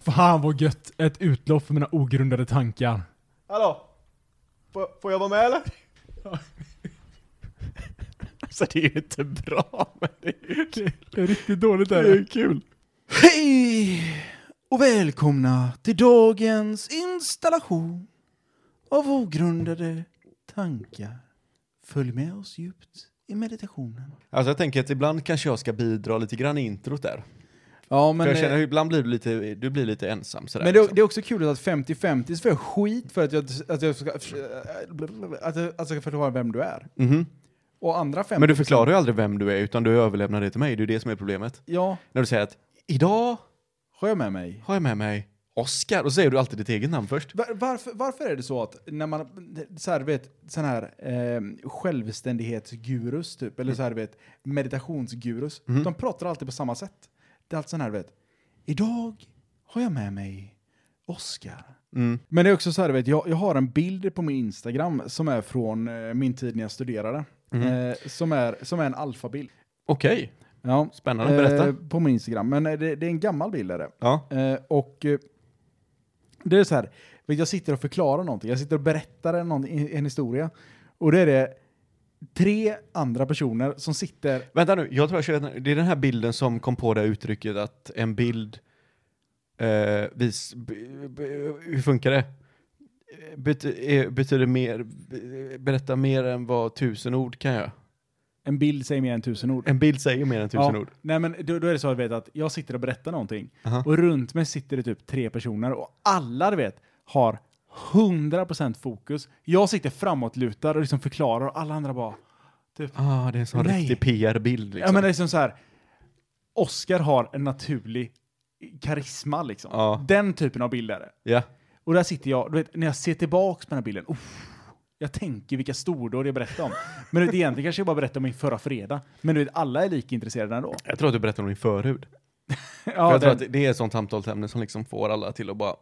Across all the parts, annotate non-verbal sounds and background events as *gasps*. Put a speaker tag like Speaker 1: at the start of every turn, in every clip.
Speaker 1: Fan vad gött! Ett utlopp för mina ogrundade tankar.
Speaker 2: Hallå? Får, får jag vara med eller?
Speaker 3: *laughs*
Speaker 4: Alltså det är ju inte bra, men det är ju kul.
Speaker 1: Det är riktigt dåligt
Speaker 4: Det är ju kul.
Speaker 3: Hej och välkomna till dagens installation av ogrundade tankar. Följ med oss djupt i meditationen.
Speaker 4: Alltså jag tänker att ibland kanske jag ska bidra lite grann i introt där.
Speaker 3: Ja,
Speaker 4: För
Speaker 3: men,
Speaker 4: jag känner
Speaker 3: eh,
Speaker 4: att ibland blir du lite, du blir lite ensam sådär.
Speaker 3: men det,
Speaker 4: liksom.
Speaker 3: det är också kul att 50-50 så får jag skit för att jag, att jag ska, att jag, att jag ska förklara vem du är.
Speaker 4: Mhm.
Speaker 3: Och andra 50
Speaker 4: Men du förklarar ju aldrig vem du är, utan du överlämnar det till mig. Det är ju det som är problemet.
Speaker 3: Ja,
Speaker 4: När du säger att idag
Speaker 3: har jag med mig.
Speaker 4: har jag med mig Oscar, och så säger du alltid ditt eget namn först.
Speaker 3: Var, varför, varför är det så att när man, så här, vet, sån här eh, självständighetsgurus typ, eller så här, vet, meditationsgurus, de pratar alltid på samma sätt. Det är alltid sån här, vet, idag har jag med mig Oscar.
Speaker 4: Mm.
Speaker 3: Men det är också så här, vet, jag, jag har en bild på min Instagram som är från eh, min tid när jag studerade, eh, som, är, som är en alfabild.
Speaker 4: Okej,
Speaker 3: Ja,
Speaker 4: spännande. Berätta.
Speaker 3: eh, på min Instagram, men eh, det, det är en gammal bild är det.
Speaker 4: ja.
Speaker 3: Eh, och eh, det är så här, vet, jag sitter och förklarar någonting, jag sitter och berättar en, någonting- en historia. Och det är det tre andra personer som sitter...
Speaker 4: Vänta nu, jag tror jag känner, det är den här bilden som kom på det här uttrycket att en bild eh, vis, b, b, hur funkar det? Bet, eh, betyder mer, b- berätta mer än vad tusen ord kan göra.
Speaker 3: En bild säger mer än tusen ord.
Speaker 4: En bild säger mer än tusen
Speaker 3: Ja,
Speaker 4: ord.
Speaker 3: Nej men då, då är det så att, vet, att jag sitter och berättar någonting
Speaker 4: Aha.
Speaker 3: och runt mig sitter det typ tre personer och alla du vet har 100% fokus. Jag sitter framåtlutad och liksom förklarar och alla andra bara typ
Speaker 4: Ah, det är en sån
Speaker 3: Nej.
Speaker 4: riktig PR-bild
Speaker 3: Ja
Speaker 4: liksom.
Speaker 3: men det är som så här. Oscar har en naturlig karisma liksom.
Speaker 4: Ja.
Speaker 3: Den typen av bild är det.
Speaker 4: Ja.
Speaker 3: Och där sitter jag, du vet, när jag ser tillbaks på den här bilden, uff, jag tänker vilka stordåd jag berättar om. Men du vet, egentligen kanske jag bara berättar om min förra fredag. Men du vet, alla är lika intresserade ändå.
Speaker 4: *laughs* Jag tror att du berättar om din förhud.
Speaker 3: Ja,
Speaker 4: jag tror
Speaker 3: den-
Speaker 4: att det är ett sånt samtalsämne som liksom får alla till att bara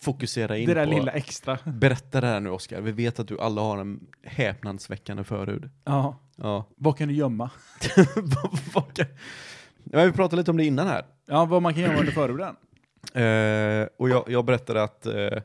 Speaker 4: fokusera in
Speaker 3: det där
Speaker 4: på...
Speaker 3: lilla extra.
Speaker 4: Berätta det här nu Oskar, vi vet att du alla har en häpnadsväckande förhud.
Speaker 3: Ja.
Speaker 4: Ja. *laughs*
Speaker 3: Vad kan du gömma?
Speaker 4: Vad- vad kan- Men vi pratade lite om det innan här.
Speaker 3: Ja, vad man kan gömma under förhuden.
Speaker 4: Eh, och jag, jag berättade att eh,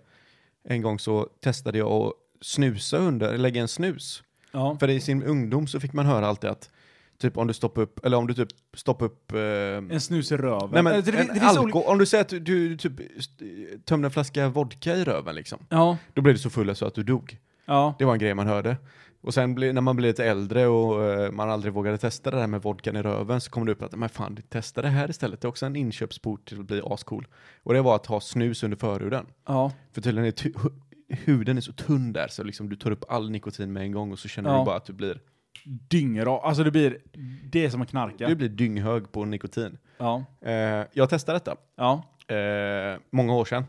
Speaker 4: en gång så testade jag att snusa under, lägga en snus.
Speaker 3: Ja.
Speaker 4: För i sin ungdom så fick man höra alltid att typ om du stoppar upp, eller om du typ stoppar upp... eh,
Speaker 3: En snus i röven.
Speaker 4: nej men,
Speaker 3: Eller det, det
Speaker 4: en
Speaker 3: finns
Speaker 4: alko-
Speaker 3: olika-
Speaker 4: Om du säger att du, du typ st- tömde en flaska vodka i röven liksom,
Speaker 3: Ja,
Speaker 4: då blev du så full så att du dog.
Speaker 3: ja.
Speaker 4: Det var en grej man hörde. Och sen bli- när man blev lite äldre och eh, man aldrig vågade testa det här med vodkan i röven så kom det upp att men fan, testa det här istället. Det är också en inköpsport till att bli ascool. Och det var att ha snus under förhuden.
Speaker 3: ja.
Speaker 4: För tydligen är tu- hu- huden är så tunn där så liksom du tar upp all nikotin med en gång och så känner
Speaker 3: Ja.
Speaker 4: du bara att du blir,
Speaker 3: Dyngrak. Alltså det blir... Det är som att knarka.
Speaker 4: du blir dynghög på nikotin.
Speaker 3: Ja.
Speaker 4: Eh, jag testade detta
Speaker 3: Ja.
Speaker 4: eh, många år sedan.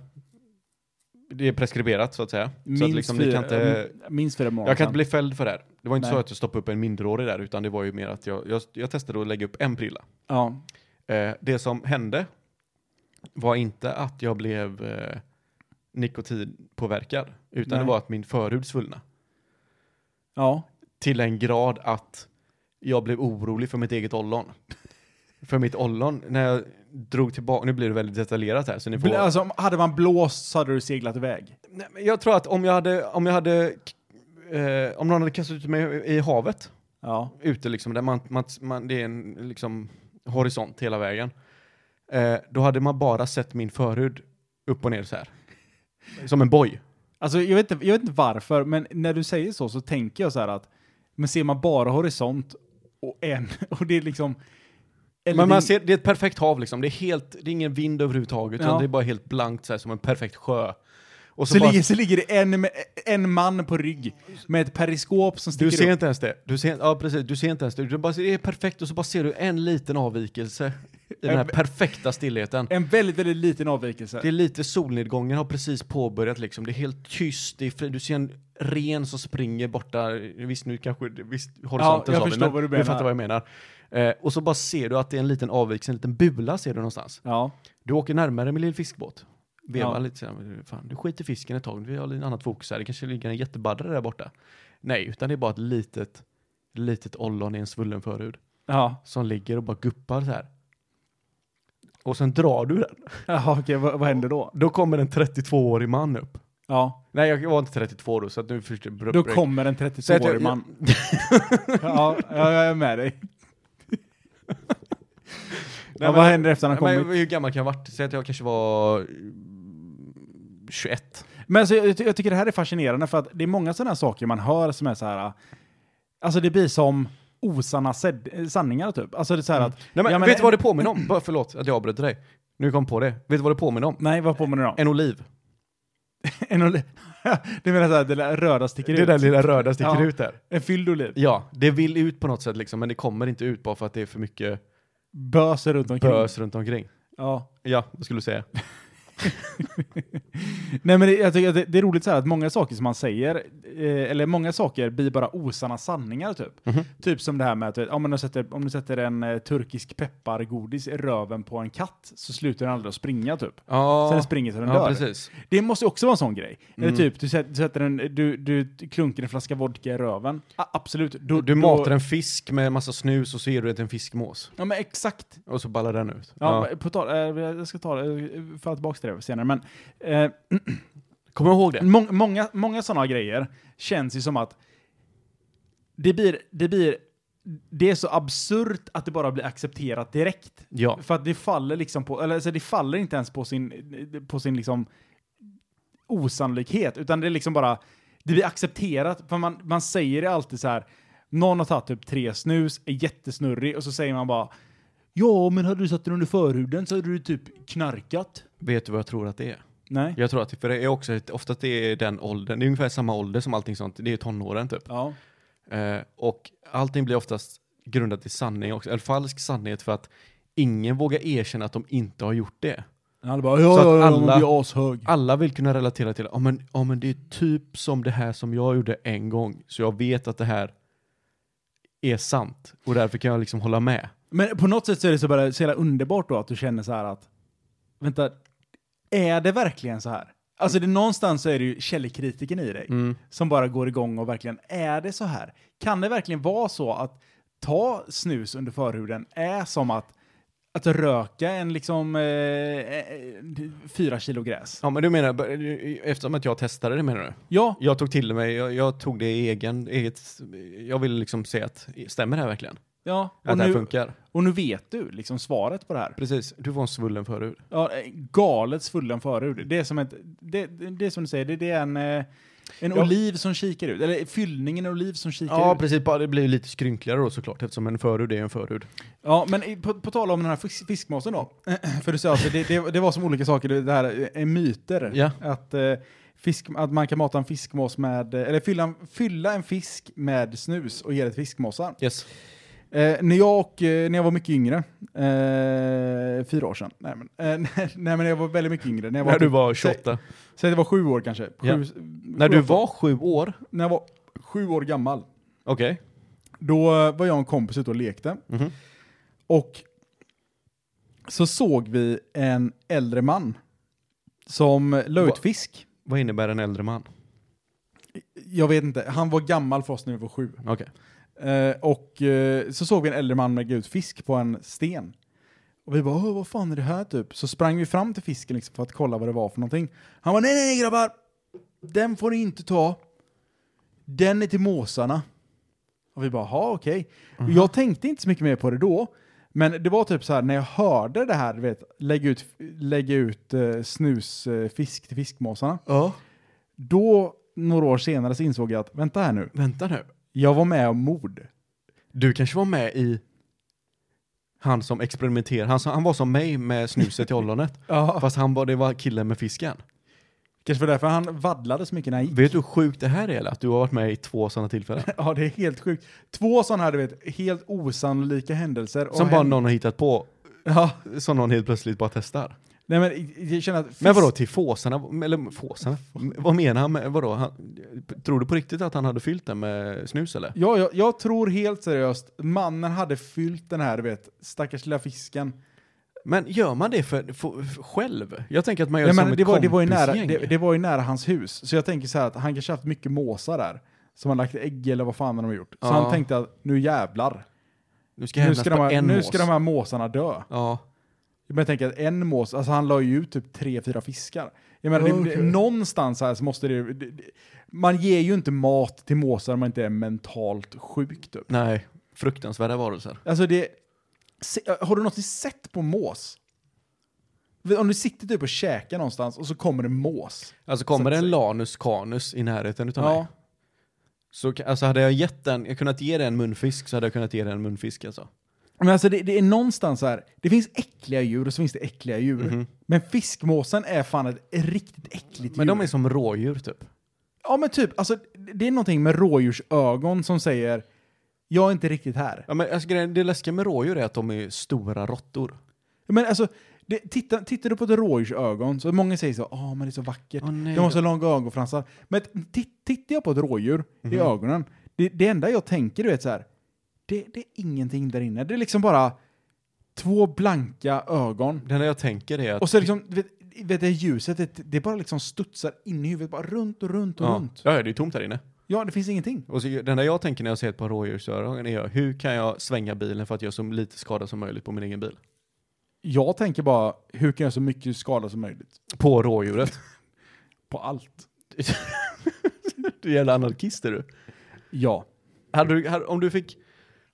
Speaker 4: Det är preskriberat så att säga. så att liksom, ni kan inte,
Speaker 3: m- minst fyra månader
Speaker 4: Jag kan
Speaker 3: sedan.
Speaker 4: inte bli fälld för det här. Det var inte
Speaker 3: Nej.
Speaker 4: så att jag stoppade upp en minderårig där, utan det var ju mer att jag, jag, jag testade att lägga upp en prilla.
Speaker 3: Ja.
Speaker 4: Eh, det som hände var inte att jag blev eh, nikotinpåverkad, utan
Speaker 3: Nej.
Speaker 4: det var att min förhud svullnade.
Speaker 3: Ja.
Speaker 4: Till en grad att jag blev orolig för mitt eget ollon. *laughs* för mitt ollon, när jag drog tillbaka, nu blir det väldigt detaljerat här, så ni får...
Speaker 3: Bl- Alltså, om- hade man blåst så hade du seglat iväg.
Speaker 4: Nej, men jag tror att om jag hade, om jag hade, eh, om någon hade kastat ut mig i havet,
Speaker 3: Ja.
Speaker 4: ute liksom, där man, man, man, det är en liksom, horisont hela vägen. Eh, då hade man bara sett min förhud upp och ner så
Speaker 3: *laughs*
Speaker 4: här. Som en boj.
Speaker 3: Alltså, jag vet, inte, jag vet inte varför, men när du säger så så tänker jag så här att men ser man bara horisont och en, *laughs* och det är liksom... eller
Speaker 4: Men
Speaker 3: det-
Speaker 4: man ser, det är ett perfekt hav liksom. Det är, helt, det är ingen vind överhuvudtaget, utan
Speaker 3: Ja.
Speaker 4: det är bara helt blankt så här, som en perfekt sjö. Och så,
Speaker 3: så,
Speaker 4: bara,
Speaker 3: ligger, så ligger det en, med- en man på rygg med ett periskop som sticker
Speaker 4: du ser
Speaker 3: upp.
Speaker 4: inte ens det. Du ser, ja, precis, du ser inte ens det. Du bara, ser- det är perfekt och så bara ser du en liten avvikelse i
Speaker 3: *laughs*
Speaker 4: den här perfekta stillheten.
Speaker 3: En väldigt, väldigt liten avvikelse.
Speaker 4: Det är lite solnedgången har precis påbörjat liksom. Det är helt tyst. Det är, fri- du ser en ren som springer borta. Visst, nu kanske visst, horisonten
Speaker 3: jag
Speaker 4: sa vi,
Speaker 3: förstår
Speaker 4: men
Speaker 3: vad du menar.
Speaker 4: fattar vad jag menar. Eh, och så bara ser du att det är en liten avvikelse, en liten bula ser du någonstans.
Speaker 3: Ja.
Speaker 4: Du åker närmare med din fiskbåt. Vevar
Speaker 3: Ja.
Speaker 4: lite sen. Fan, du skiter i fisken ett tag. Vi har lite annat fokus här. Det kanske ligger en jättebaddare där borta. Nej, utan det är bara ett litet, litet ollon i en svullen förhud *laughs*
Speaker 3: Ja.
Speaker 4: som ligger och bara guppar så här. och sen drar du den.
Speaker 3: Jaha, okej, vad, vad händer då?
Speaker 4: Då kommer en 32-årig man upp.
Speaker 3: Ja,
Speaker 4: Nej, jag var inte 32 då, så att nu förstår
Speaker 3: då kommer en 32-årig man.
Speaker 4: *laughs*
Speaker 3: Ja, ja, jag är med dig. ja, vad händer efter han har kommit?
Speaker 4: Men, hur gammal kan jag ha varit? Säg att jag kanske var mm, 21.
Speaker 3: Men alltså, jag, ty- jag tycker det här är fascinerande för att det är många sådana här saker man hör som är så här. Alltså det blir som osanna sed- sanningar typ. Alltså det är så här att...
Speaker 4: Nej, men,
Speaker 3: ja,
Speaker 4: vet du vad det påminner om? Bara, förlåt att jag avbröt dig. Nu kom jag på det. Vet du vad det påminner om?
Speaker 3: Nej, vad påminner det om?
Speaker 4: En oliv.
Speaker 3: En oliv. *laughs* du menar såhär, det där röda sticker
Speaker 4: Det
Speaker 3: ut?
Speaker 4: där lilla röda sticker
Speaker 3: Ja.
Speaker 4: ut där.
Speaker 3: En fylld oliv.
Speaker 4: Ja, det vill ut på något sätt liksom, men det kommer inte ut bara för att det är för mycket
Speaker 3: Böser runt omkring.
Speaker 4: bös runt omkring.
Speaker 3: Ja.
Speaker 4: Ja, vad skulle du säga?
Speaker 3: Nej, men det, jag tycker att det, det är roligt så här att många saker som man säger, eh, eller många saker blir bara osanna sanningar typ.
Speaker 4: Mhm.
Speaker 3: Typ som det här med att eh, om du sätter, om du sätter en eh, turkisk peppargodis i röven på en katt så slutar den aldrig att springa typ.
Speaker 4: Ja,
Speaker 3: Så den springer så den
Speaker 4: ja
Speaker 3: dör.
Speaker 4: precis.
Speaker 3: Det måste också vara en sån grej.
Speaker 4: Mm.
Speaker 3: Eller typ, du, sätter, du, sätter en, du, du klunkar en flaska vodka i röven. Ah, absolut. Då-
Speaker 4: Du
Speaker 3: då-
Speaker 4: matar en fisk med massa snus och så ger du det en fiskmås.
Speaker 3: Ja men exakt.
Speaker 4: Och så ballar den ut.
Speaker 3: Ja,
Speaker 4: Ja.
Speaker 3: På tal, eh, jag ska ta det, falla tillbaka till det senare. Men, eh, *clears throat*
Speaker 4: Kommer ihåg det?
Speaker 3: Mång- många, många sådana grejer känns ju som att det blir, det blir, det är så absurt att det bara blir accepterat direkt.
Speaker 4: Ja.
Speaker 3: För att det faller liksom på, eller alltså det faller inte ens på sin, på sin liksom osannolikhet, utan det är liksom bara, det blir accepterat, för man, man säger det alltid så här, någon har tagit typ tre snus, är jättesnurrig, och så säger man bara, ja men hade du satt den under förhuden så hade du typ knarkat.
Speaker 4: Vet du vad jag tror att det är?
Speaker 3: Nej.
Speaker 4: Jag tror att det, för det är också, ett- ofta att det är den åldern, det är ungefär samma ålder som allting sånt, det är tonåren typ.
Speaker 3: Ja.
Speaker 4: Eh, och allting blir oftast grundat i sanning också, eller falsk sanning för att ingen vågar erkänna att de inte har gjort det.
Speaker 3: Alla bara, ja,
Speaker 4: Så att
Speaker 3: ja, ja,
Speaker 4: alla-
Speaker 3: man blir ashög.
Speaker 4: Alla vill kunna relatera till, ja men, ja men det är typ som det här som jag gjorde en gång, så jag vet att det här är sant och därför kan jag liksom hålla med.
Speaker 3: Men på något sätt så är det så, bara, så jävla underbart då att du känner så här att, vänta, är det verkligen så här? Alltså det, någonstans så är det ju källkritiken i dig
Speaker 4: Mm.
Speaker 3: som bara går igång och verkligen, är det så här? Kan det verkligen vara så att ta snus under förhuden är som att, att röka en liksom eh, eh, fyra kilo gräs?
Speaker 4: Ja men du menar, b- eftersom att jag testade det menar du?
Speaker 3: Ja,
Speaker 4: Jag tog till mig, jag, jag tog det i egen, eget, jag ville liksom se att, stämmer det här verkligen?
Speaker 3: ja.
Speaker 4: Att
Speaker 3: Och
Speaker 4: det här
Speaker 3: nu,
Speaker 4: funkar?
Speaker 3: och nu vet du liksom svaret på det här.
Speaker 4: Precis, du får en svullen förhud.
Speaker 3: Ja, eh, galet svullen förhud. Det är som, ett, det, det är som du säger, det, det är en, eh, en
Speaker 4: Ja.
Speaker 3: oliv som kikar ut. Eller fyllningen av oliv som kikar
Speaker 4: Ja
Speaker 3: ut.
Speaker 4: precis, bara det blir ju lite skrynkligare då såklart eftersom en förhud är en förhud.
Speaker 3: Ja, men i- på, på tal om den här fisk, fiskmåsen då. *clears throat* För du sa att det, det, det var som olika saker, det här är myter.
Speaker 4: Ja.
Speaker 3: Att, eh, fisk, att man kan mata en fiskmås med, eh, eller fylla, en- fylla en fisk med snus och ge det till fiskmåsar.
Speaker 4: Yes.
Speaker 3: Eh, när, jag och, eh, när jag var mycket yngre, eh, fyra år sedan, nej men, eh, *laughs* nej men jag var väldigt mycket yngre. När, jag var
Speaker 4: När du
Speaker 3: typ-
Speaker 4: var 28.
Speaker 3: Säg att jag var sju år kanske. Sju,
Speaker 4: Ja.
Speaker 3: sju,
Speaker 4: När du
Speaker 3: åtta-
Speaker 4: var sju år?
Speaker 3: När jag var sju år gammal.
Speaker 4: Okej.
Speaker 3: Då eh, var jag och en kompis ute och lekte.
Speaker 4: Mhm.
Speaker 3: Och så såg vi en äldre man som la
Speaker 4: Va-
Speaker 3: ut fisk.
Speaker 4: Vad innebär en äldre man?
Speaker 3: Jag vet inte, han var gammal för oss när vi var sju.
Speaker 4: Okej.
Speaker 3: Eh, och eh, så såg vi en äldre man lägga ut fisk på en sten. Och vi bara, "Åh, vad fan är det här typ? Så sprang vi fram till fisken liksom, för att kolla vad det var för någonting. Han var nej, nej, nej grabbar! Den får ni inte ta. Den är till måsarna. Och vi bara, ha okej. Och Jag tänkte inte så mycket mer på det då. Men det var typ så här när jag hörde det här, du vet, lägga ut, lägga ut eh, snusfisk till fiskmåsarna.
Speaker 4: Ja.
Speaker 3: Då, några år senare, så insåg jag att vänta här nu,
Speaker 4: Vänta nu.
Speaker 3: jag var med om mord.
Speaker 4: Du kanske var med i han som experimenterade, han, som- han var som mig med snuset i *laughs* ollonet.
Speaker 3: Ja.
Speaker 4: Fast han var, det var killen med fisken.
Speaker 3: Kanske var därför han vaddlade så mycket när han gick.
Speaker 4: Vet du hur sjukt det här är eller? Att du har varit med i två sådana *laughs* tillfällen.
Speaker 3: Ja, det är helt sjukt. Två sådana här, du vet, helt osannolika händelser. och
Speaker 4: Som bara
Speaker 3: hän-
Speaker 4: någon har hittat på,
Speaker 3: *laughs* Ja,
Speaker 4: som någon helt plötsligt bara testar.
Speaker 3: nej men jag känner att... Fisk...
Speaker 4: Men vadå, till fåsarna? Eller fåsarna? Vad menar han med, vadå? Han, tror du på riktigt att han hade fyllt den med snus eller?
Speaker 3: Ja, jag, jag tror helt seriöst, mannen hade fyllt den här, du vet, stackars lilla fisken.
Speaker 4: Men gör man det för, för, för själv? Jag tänker att man gör
Speaker 3: Nej,
Speaker 4: som
Speaker 3: men
Speaker 4: ett
Speaker 3: det, var, det, var ju nära,
Speaker 4: kompisgäng.
Speaker 3: det, det var ju nära hans hus, så jag tänker så här att han kanske haft mycket måsar där. Som har lagt ägg eller vad fan de har gjort. Så
Speaker 4: Ja.
Speaker 3: han tänkte att nu jävlar.
Speaker 4: Nu ska jag
Speaker 3: Nu
Speaker 4: hämnas
Speaker 3: ska,
Speaker 4: på
Speaker 3: de här,
Speaker 4: en
Speaker 3: nu
Speaker 4: mås.
Speaker 3: ska de här måsarna dö.
Speaker 4: Ja.
Speaker 3: Men jag tänker att en mås, alltså han la ju ut typ tre, fyra fiskar. Jag menar, det- det,
Speaker 1: Okej.
Speaker 3: någonstans här så måste det, det, det... Man ger ju inte mat till måsar om man inte är mentalt sjuk typ.
Speaker 4: Nej, fruktansvärda varelser.
Speaker 3: Alltså det... Se, har du någonsin sett på mås? Om du sitter typ och käkar någonstans och så kommer det mås.
Speaker 4: Alltså kommer
Speaker 3: Så-
Speaker 4: det en lanus canus i närheten utav mig,
Speaker 3: Ja,
Speaker 4: så ka- alltså hade jag gett den, jag kunnat ge den en munfisk så hade jag kunnat ge den en munfisk alltså.
Speaker 3: men alltså det, det är någonstans så här. Det finns äckliga djur och så finns det äckliga djur. Men fiskmåsen är fan ett riktigt äckligt
Speaker 4: Men
Speaker 3: djur.
Speaker 4: de är som rådjur typ.
Speaker 3: Ja men typ, alltså det är någonting med rådjursögon som säger jag är inte riktigt här.
Speaker 4: Ja, men alltså, grejen, det läskiga med rådjur är att de är stora råttor.
Speaker 3: Men alltså, det, titta, tittar du på ett rådjursögon så många säger så ah men det är så vackert,
Speaker 4: Åh, nej.
Speaker 3: de har så långa ögonfransar. Men t- tittar jag på ett rådjur
Speaker 4: Mhm.
Speaker 3: i ögonen, det, det enda jag tänker du vet så här, det, det är ingenting där inne. Det är liksom bara två blanka ögon.
Speaker 4: Det enda jag tänker är att...
Speaker 3: Och så liksom, du vet, vet det ljuset, det, det bara liksom studsar in i huvudet, bara runt och runt och
Speaker 4: ja.
Speaker 3: runt.
Speaker 4: ja, ja, det är tomt där inne.
Speaker 3: Ja, det finns ingenting.
Speaker 4: Och så, det enda jag tänker när jag ser ett par rådjursöron är hur kan jag svänga bilen för att göra så lite skada som möjligt på min egen bil?
Speaker 3: Jag tänker bara, hur kan jag göra så mycket skada som möjligt?
Speaker 4: På rådjuret.
Speaker 3: På allt.
Speaker 4: *laughs* du är jävla anarkist är du.
Speaker 3: Ja.
Speaker 4: Hade du hade, om, du fick,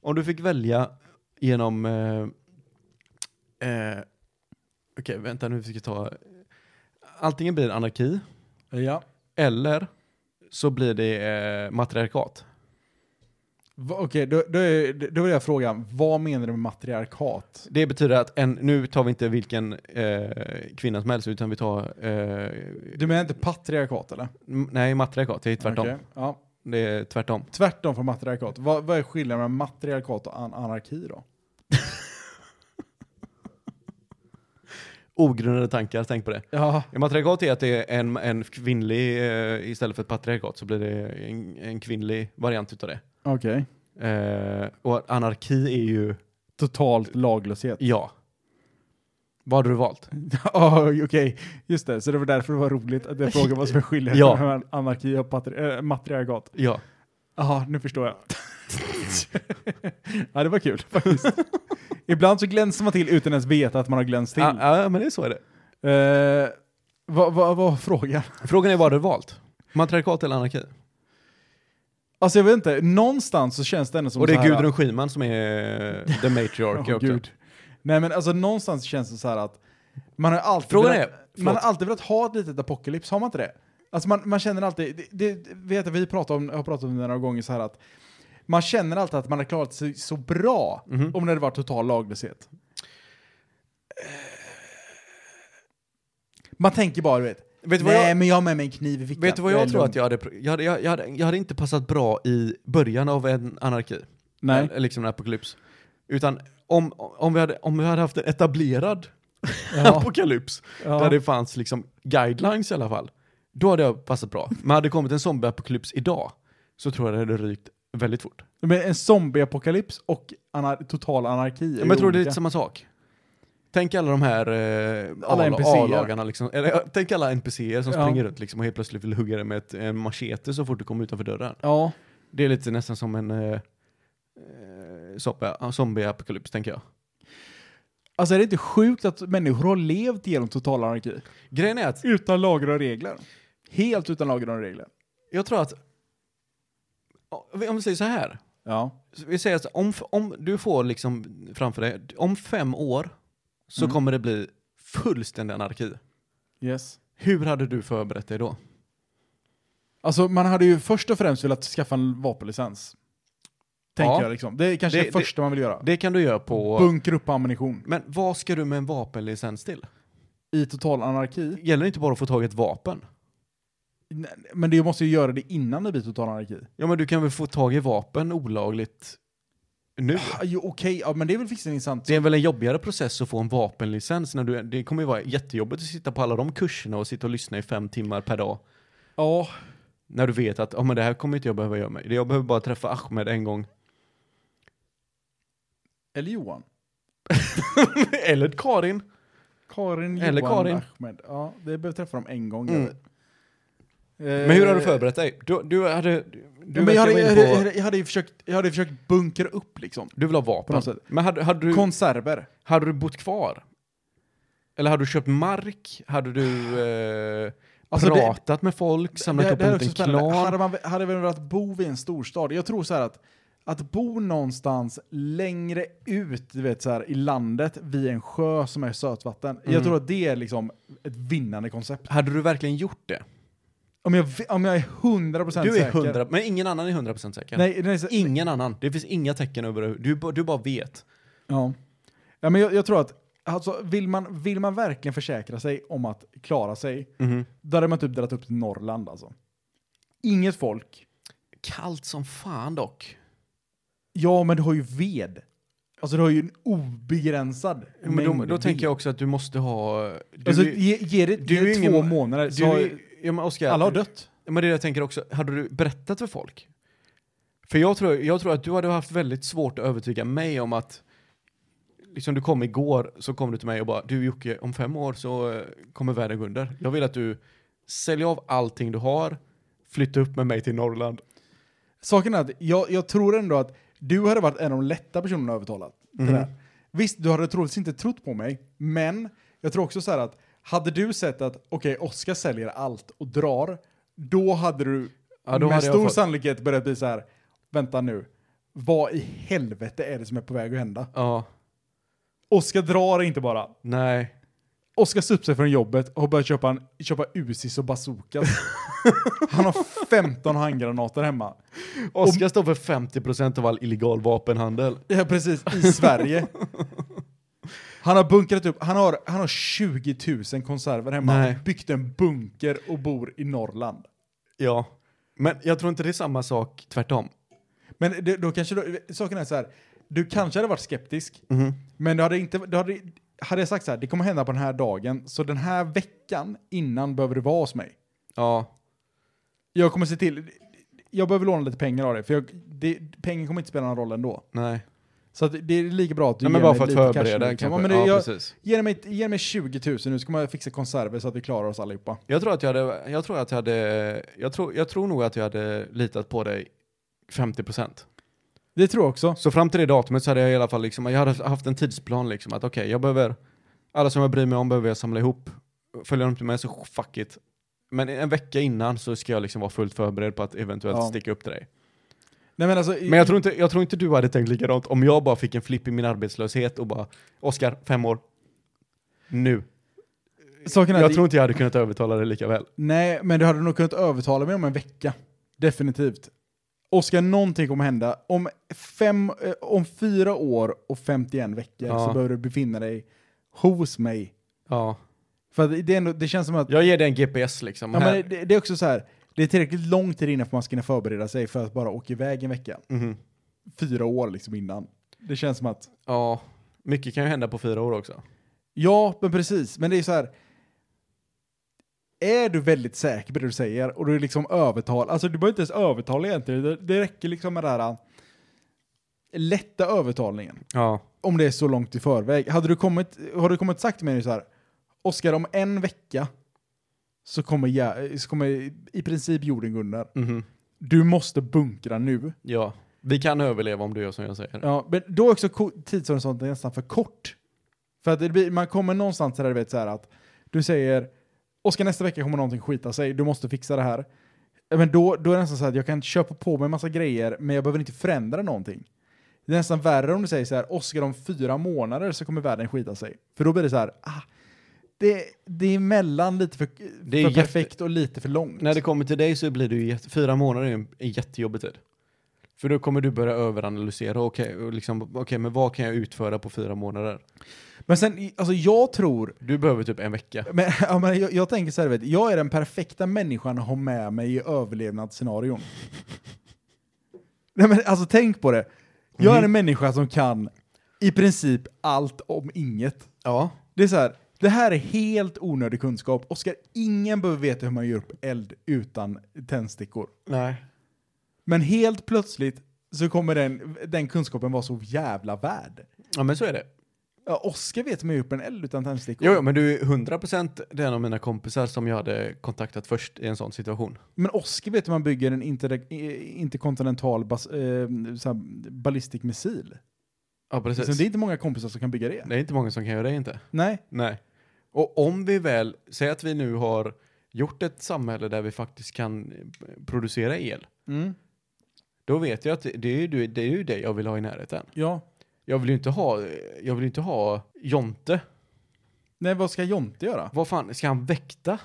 Speaker 4: om du fick välja genom... Eh, eh, Okej, vänta nu ska vi ta... Antingen blir det anarki
Speaker 3: Ja.
Speaker 4: eller så blir det eh, matriarkat.
Speaker 3: Va, okej, då, då, är- då vill jag fråga, vad menar du med matriarkat?
Speaker 4: Det betyder att en, nu tar vi inte vilken eh, kvinna som helst utan vi tar... Eh,
Speaker 3: Du menar inte patriarkat eller?
Speaker 4: m- nej, matriarkat. Det är tvärtom.
Speaker 3: Okej, Ja.
Speaker 4: Det är tvärtom.
Speaker 3: Tvärtom från matriarkat. Vad, vad är skillnaden mellan matriarkat och an- anarki då?
Speaker 4: Ogrundade tankar, tänk på det.
Speaker 3: Ja.
Speaker 4: Matriarkat är att det är en, en kvinnlig, eh, istället för ett patriarkat så blir det en, en kvinnlig variant utav det.
Speaker 3: Okej.
Speaker 4: Eh, och anarki är ju,
Speaker 3: Totalt laglöshet.
Speaker 4: ja. Vad hade du valt?
Speaker 3: *laughs* Ja, okej. Just det, så det var därför det var roligt att jag frågade vad som är skillnaden
Speaker 4: Ja.
Speaker 3: mellan anarki och patri- äh, matriarkat.
Speaker 4: Ja.
Speaker 3: Ja, nu förstår jag. ja, det var kul faktiskt. Ibland så glänser man till utan ens veta att man har glänst till.
Speaker 4: Ja, Ah, ja, men det är så är det.
Speaker 3: Eh, vad vad var frågan?
Speaker 4: Frågan är vad hade du valt? Matriarkat eller anarki?
Speaker 3: Alltså jag vet inte, någonstans så känns det ändå som
Speaker 4: och det
Speaker 3: så
Speaker 4: är
Speaker 3: här-
Speaker 4: Gudrun Schyman som är eh, the matriarch
Speaker 3: *laughs* Åh,
Speaker 4: också.
Speaker 3: Gud. Nej men alltså någonstans känns det så här att man har alltid,
Speaker 4: Frågan
Speaker 3: velat,
Speaker 4: är- förlåt.
Speaker 3: man har alltid velat ha ett litet apokalyps, har man inte det? Alltså man, man känner alltid, det, det vet jag vi pratar om, har pratat om det några gånger så här att man känner alltid att man har klarat sig så bra
Speaker 4: Mhm.
Speaker 3: om det hade varit total laglöshet. Eh. Man tänker bara, du vet,
Speaker 4: Vet du vad
Speaker 3: nej
Speaker 4: jag-
Speaker 3: men jag har med mig en kniv i fickan.
Speaker 4: Vet du vad jag,
Speaker 3: är
Speaker 4: tror
Speaker 3: lugn."
Speaker 4: att jag hade, pr- jag, hade, jag, jag, hade, jag hade inte passat bra i början av en anarki. *laughs*
Speaker 3: Nej.
Speaker 4: Eller liksom en apokalyps. Utan om, om, vi hade, om vi hade haft en etablerad apokalyps,
Speaker 3: *laughs* Ja.
Speaker 4: där det fanns liksom guidelines i alla fall, då hade jag passat bra. Men hade det kommit en zombieapokalyps idag, så tror jag det hade rykt väldigt fort.
Speaker 3: Men en zombieapokalyps och anar- total anarki är
Speaker 4: Men jag
Speaker 3: ju
Speaker 4: tror det är
Speaker 3: olika.
Speaker 4: lite samma sak. Tänk alla de här eh,
Speaker 3: Alla
Speaker 4: A-
Speaker 3: NPC:er.
Speaker 4: A-lagarna liksom. Eller, ja, tänk alla NPCer som
Speaker 3: Ja.
Speaker 4: springer runt liksom och helt plötsligt vill hugga dig med ett, en machete så fort du kommer utanför dörren.
Speaker 3: Ja.
Speaker 4: Det är lite nästan som en eh, eh, zombie- zombie-apokalyps, tänker jag.
Speaker 3: Alltså är det inte sjukt att människor har levt genom total anarki?
Speaker 4: Grejen är att
Speaker 3: Utan lagar och regler. Helt utan lagar och regler.
Speaker 4: jag tror att... Om vi säger så här.
Speaker 3: Ja.
Speaker 4: Så Vi säger att om, om du får liksom framför dig, om fem år så kommer det bli fullständig anarki.
Speaker 3: Yes.
Speaker 4: Hur hade du förberett dig då?
Speaker 3: Alltså man hade ju först och främst velat skaffa en vapenlicens. Tänker
Speaker 4: Ja.
Speaker 3: jag liksom. Det är kanske det,
Speaker 4: Det-
Speaker 3: första man vill göra.
Speaker 4: Det kan du göra på...
Speaker 3: Bunker upp ammunition.
Speaker 4: Men vad ska du med en vapenlicens till?
Speaker 3: I total anarki.
Speaker 4: Gäller det inte bara att få tag i ett vapen?
Speaker 3: Nej, Men du måste ju göra det innan det blir total anarki.
Speaker 4: Ja, men du kan väl få tag i vapen olagligt nu?
Speaker 3: Ah, jo, Okej, ja, men det är väl fixen sant.
Speaker 4: Det är väl en jobbigare process att få en vapenlicens när du, det kommer ju vara jättejobbigt att sitta på alla de kurserna och sitta och lyssna i fem timmar per dag.
Speaker 3: Ja.
Speaker 4: När du vet att, ja men det här kommer inte jag behöva göra mig. Jag behöver bara träffa Ahmed en gång. *laughs*
Speaker 3: Eller Johan.
Speaker 4: Eller Karin.
Speaker 3: Karin,
Speaker 4: Eller
Speaker 3: Johan,
Speaker 4: Karin.
Speaker 3: Ahmed. Ja, det behöver träffa dem en gång.
Speaker 4: Mm.
Speaker 3: jag vet.
Speaker 4: Men hur har du
Speaker 3: Eh,
Speaker 4: förberett dig? Du, du hade... Du,
Speaker 3: men jag, hade,
Speaker 4: verkar
Speaker 3: jag,
Speaker 4: vara
Speaker 3: hade,
Speaker 4: inne
Speaker 3: jag,
Speaker 4: på,
Speaker 3: hade, jag, hade ju försökt, jag hade ju försökt bunkra upp liksom.
Speaker 4: du vill ha
Speaker 3: på
Speaker 4: vapen.
Speaker 3: något sätt.
Speaker 4: Men hade, hade, du,
Speaker 3: Konserver.
Speaker 4: hade du bott kvar? Eller hade du köpt mark? Hade du eh,
Speaker 3: Alltså, det-
Speaker 4: pratat med folk? Samlat upp
Speaker 3: här
Speaker 4: en
Speaker 3: är också
Speaker 4: liten
Speaker 3: spännande.
Speaker 4: klan?
Speaker 3: Hade man hade man velat bo vid en storstad? Jag tror så här att att bo någonstans längre ut du vet, så här, i landet vid en sjö som är sötvatten.
Speaker 4: Mm.
Speaker 3: Jag tror att det är liksom ett vinnande koncept.
Speaker 4: Hade du verkligen gjort det?
Speaker 3: Om jag, vi- om jag är 100% säker.
Speaker 4: Du är 100, men ingen annan är 100% säker.
Speaker 3: Nej, nej, så,
Speaker 4: Ingen annan. Det finns inga tecken över du, ba- du bara vet.
Speaker 3: Ja. ja men jag, jag tror att alltså, vill, man, vill man verkligen försäkra sig om att klara sig, då hade man typ dragit upp till Norrland alltså. Inget folk.
Speaker 4: Kallt som fan dock.
Speaker 3: Ja, men du har ju ved. Alltså du har ju en obegränsad
Speaker 4: Men då, då tänker jag också att du måste ha... Du,
Speaker 3: Alltså,
Speaker 4: är-
Speaker 3: ge, ge det,
Speaker 4: du
Speaker 3: ge det
Speaker 4: är ingen-
Speaker 3: två månader
Speaker 4: du,
Speaker 3: så har-
Speaker 4: är- ja, men Oskar,
Speaker 3: alla har dött.
Speaker 4: Men det jag tänker också, hade du berättat för folk? För jag tror, jag tror att du hade haft väldigt svårt att övertyga mig om att liksom du kom igår så kom du till mig och bara du Jocke, om fem år så eh, kommer världen gå under. Jag vill att du säljer av allting du har, flytta upp med mig till Norrland.
Speaker 3: Saken är att jag, jag tror ändå att du hade varit en av de lätta personerna att övertala. till
Speaker 4: Mhm.
Speaker 3: Det där. Visst, du hade troligtvis inte trott på mig, men jag tror också så här att hade du sett att okej, Oskar säljer allt och drar, då hade du
Speaker 4: Ja, då
Speaker 3: med
Speaker 4: hade jag
Speaker 3: stor
Speaker 4: fått-
Speaker 3: sannolikhet börjat bli så här, vänta nu, vad i helvete är det som är på väg att hända?
Speaker 4: Ja,
Speaker 3: Oskar drar inte bara.
Speaker 4: nej.
Speaker 3: Oskar sa upp sig från jobbet och har börjat köpa, en, köpa Usis och *laughs* bazookas. Han har 15 handgranater hemma.
Speaker 4: Oskar står för 50% av all illegal vapenhandel.
Speaker 3: Ja, precis. I Sverige. Han har bunkrat upp, han har, han har 20 000 konserver hemma,
Speaker 4: Nej.
Speaker 3: byggt en bunker och bor i Norrland.
Speaker 4: Ja. Men jag tror inte det är samma sak tvärtom.
Speaker 3: Men det, då kanske, du, saken är så här, du kanske hade varit skeptisk, men du hade inte, du hade, hade jag sagt så här, det kommer hända på den här dagen, så den här veckan innan behöver du vara hos mig.
Speaker 4: Ja.
Speaker 3: Jag kommer se till, jag behöver låna lite pengar av dig, för jag, det, pengar kommer inte spela någon roll ändå.
Speaker 4: Nej.
Speaker 3: Så att det är lika bra att du
Speaker 4: Nej men
Speaker 3: ger
Speaker 4: bara
Speaker 3: mig
Speaker 4: för att
Speaker 3: lite cash nu,
Speaker 4: förbereda
Speaker 3: liksom.
Speaker 4: kanske.
Speaker 3: Ja, men det, jag,
Speaker 4: precis.
Speaker 3: Ge mig, ge mig 20 000 nu ska man fixa konserver så att vi klarar oss allihopa.
Speaker 4: Jag tror att jag hade, jag tror att jag hade, jag tror, jag tror nog att jag hade litat på dig 50%.
Speaker 3: Det tror jag också.
Speaker 4: Så fram till det datumet så hade jag i alla fall liksom, jag hade haft en tidsplan liksom att okej, jag behöver, alla som jag bryr mig om behöver jag samla ihop. Följer de inte med så fuck it. Men en vecka innan så ska jag liksom vara fullt förberedd på att eventuellt
Speaker 3: Ja.
Speaker 4: sticka upp till dig.
Speaker 3: Nej, men alltså,
Speaker 4: Men jag tror, inte, jag tror inte du hade tänkt likadant om jag bara fick en flipp i min arbetslöshet och bara, Oskar, fem år. Nu.
Speaker 3: saken är
Speaker 4: Jag
Speaker 3: att-
Speaker 4: tror inte jag hade kunnat övertala dig lika väl.
Speaker 3: Nej, men du hade nog kunnat övertala mig om en vecka. Definitivt. Oskar, någonting kommer hända. Om, fem, eh, om fyra år och 51 veckor
Speaker 4: Ja.
Speaker 3: så behöver du befinna dig hos mig.
Speaker 4: Ja.
Speaker 3: För att det, är ändå, det känns som att...
Speaker 4: Jag ger dig en GPS liksom.
Speaker 3: Ja,
Speaker 4: här.
Speaker 3: men det, det är också så här, det är tillräckligt lång tid innan för man ska kunna förbereda sig för att bara åka iväg en vecka.
Speaker 4: Mhm.
Speaker 3: Fyra år liksom innan. Det känns som att...
Speaker 4: Ja, mycket kan ju hända på fyra år också.
Speaker 3: Ja, men precis. Men det är så här. Är du väldigt säker på det du säger och du liksom övertal, alltså du behöver inte ens övertala egentligen, det, det räcker liksom med den här äh, lätta övertalningen.
Speaker 4: Ja.
Speaker 3: Om det är så långt i förväg. Hade du kommit, har du kommit sagt till mig så här, Oskar om en vecka så kommer, jag, så kommer i princip jorden gå under.
Speaker 4: Mhm.
Speaker 3: Du måste bunkra nu.
Speaker 4: ja. Vi kan överleva om du gör som jag säger.
Speaker 3: Ja, men då är också ko- tidshorisonten nästan för kort. För att det blir, man kommer någonstans där du vet så här att du säger Oskar nästa vecka kommer någonting skita sig, du måste fixa det här. Ja, Men då, då är det nästan så här att jag kan köpa på mig en massa grejer men jag behöver inte förändra någonting. Det är nästan värre om du säger så här Oskar om fyra månader så kommer världen skita sig. För då blir det så här, ah, det, det är mellan lite för,
Speaker 4: Det är
Speaker 3: för
Speaker 4: jätte-
Speaker 3: perfekt och lite för långt.
Speaker 4: När det kommer till dig så blir det ju jätte, fyra månader är en, en jättejobbig tid. För då kommer du börja överanalysera, okej, och liksom, okej, men vad kan jag utföra på fyra månader?
Speaker 3: Men sen, alltså jag tror
Speaker 4: Du behöver typ en vecka.
Speaker 3: Men, *laughs* ja, men jag, jag tänker så här, vet, du, jag är den perfekta människan att ha med mig i överlevnadsscenarion. Nej, men, alltså tänk på det. Jag
Speaker 4: Mhm.
Speaker 3: är en människa som kan i princip allt om inget.
Speaker 4: Ja.
Speaker 3: Det är så här, det här är helt onödig kunskap. Oskar, ingen behöver veta hur man gör upp eld utan tändstickor.
Speaker 4: Nej.
Speaker 3: Men helt plötsligt så kommer den, den kunskapen vara så jävla värd.
Speaker 4: Ja, men så är det.
Speaker 3: Ja, Oskar vet hur man gör upp en eld utan tändstickor.
Speaker 4: Jo, jo, men du är 100% den av mina kompisar som jag hade kontaktat först i en sån situation.
Speaker 3: Men Oskar vet hur man bygger en inter- eh, interkontinental bas- eh, så här, ballistic missil. Liksom,
Speaker 4: Ja, precis.
Speaker 3: Så det är inte många kompisar som kan bygga det.
Speaker 4: det är inte många som kan göra det inte.
Speaker 3: Nej.
Speaker 4: Nej. Och om vi väl, säg att vi nu har gjort ett samhälle där vi faktiskt kan eh, producera el.
Speaker 3: Mm.
Speaker 4: Då vet jag att det, det är, ju, det är ju det jag vill ha i närheten.
Speaker 3: Ja.
Speaker 4: Jag vill ju inte ha, eh, jag vill ju inte ha Jonte.
Speaker 3: Nej, vad ska Jonte göra?
Speaker 4: Vad fan, ska han väkta?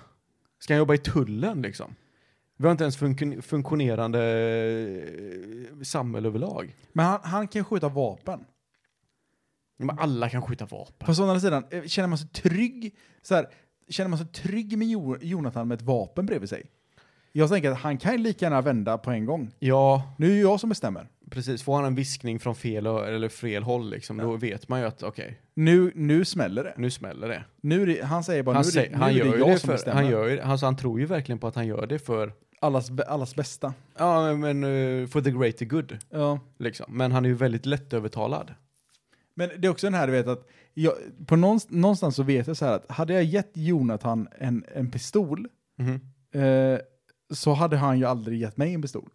Speaker 4: Ska han jobba i tullen liksom? Vi har inte ens funkun- funktionerande eh, samhälle överlag.
Speaker 3: Men han, han kan skjuta vapen.
Speaker 4: Men alla kan skjuta vapen.
Speaker 3: Fast å andra sidan, eh, känner man sig trygg? Så här, känner man sig trygg med Jo- Jonathan med ett vapen bredvid sig? Jag tänker att han kan ju lika gärna vända på en gång.
Speaker 4: Ja,
Speaker 3: Nu är ju jag som bestämmer.
Speaker 4: precis. Får han en viskning från fel, ö- eller fel håll liksom, då vet man ju att okej,
Speaker 3: Nu, nu smäller det.
Speaker 4: nu smäller det.
Speaker 3: Nu är det han säger bara
Speaker 4: Han,
Speaker 3: nu, är
Speaker 4: säger,
Speaker 3: det, nu
Speaker 4: han,
Speaker 3: är
Speaker 4: gör
Speaker 3: det
Speaker 4: ju
Speaker 3: jag
Speaker 4: det
Speaker 3: som
Speaker 4: för,
Speaker 3: bestämmer.
Speaker 4: han, gör, ju- alltså, han tror ju verkligen på att han gör det för,
Speaker 3: Allas, bä- allas bästa.
Speaker 4: ja men eh, for the greater good.
Speaker 3: Ja.
Speaker 4: Liksom. Men han är ju väldigt lättövertalad.
Speaker 3: Men det är också den här, du vet att, jag, på någonstans, någonstans så vet jag så här att hade jag gett Jonathan en, en pistol
Speaker 4: Mhm.
Speaker 3: eh, så hade han ju aldrig gett mig en pistol.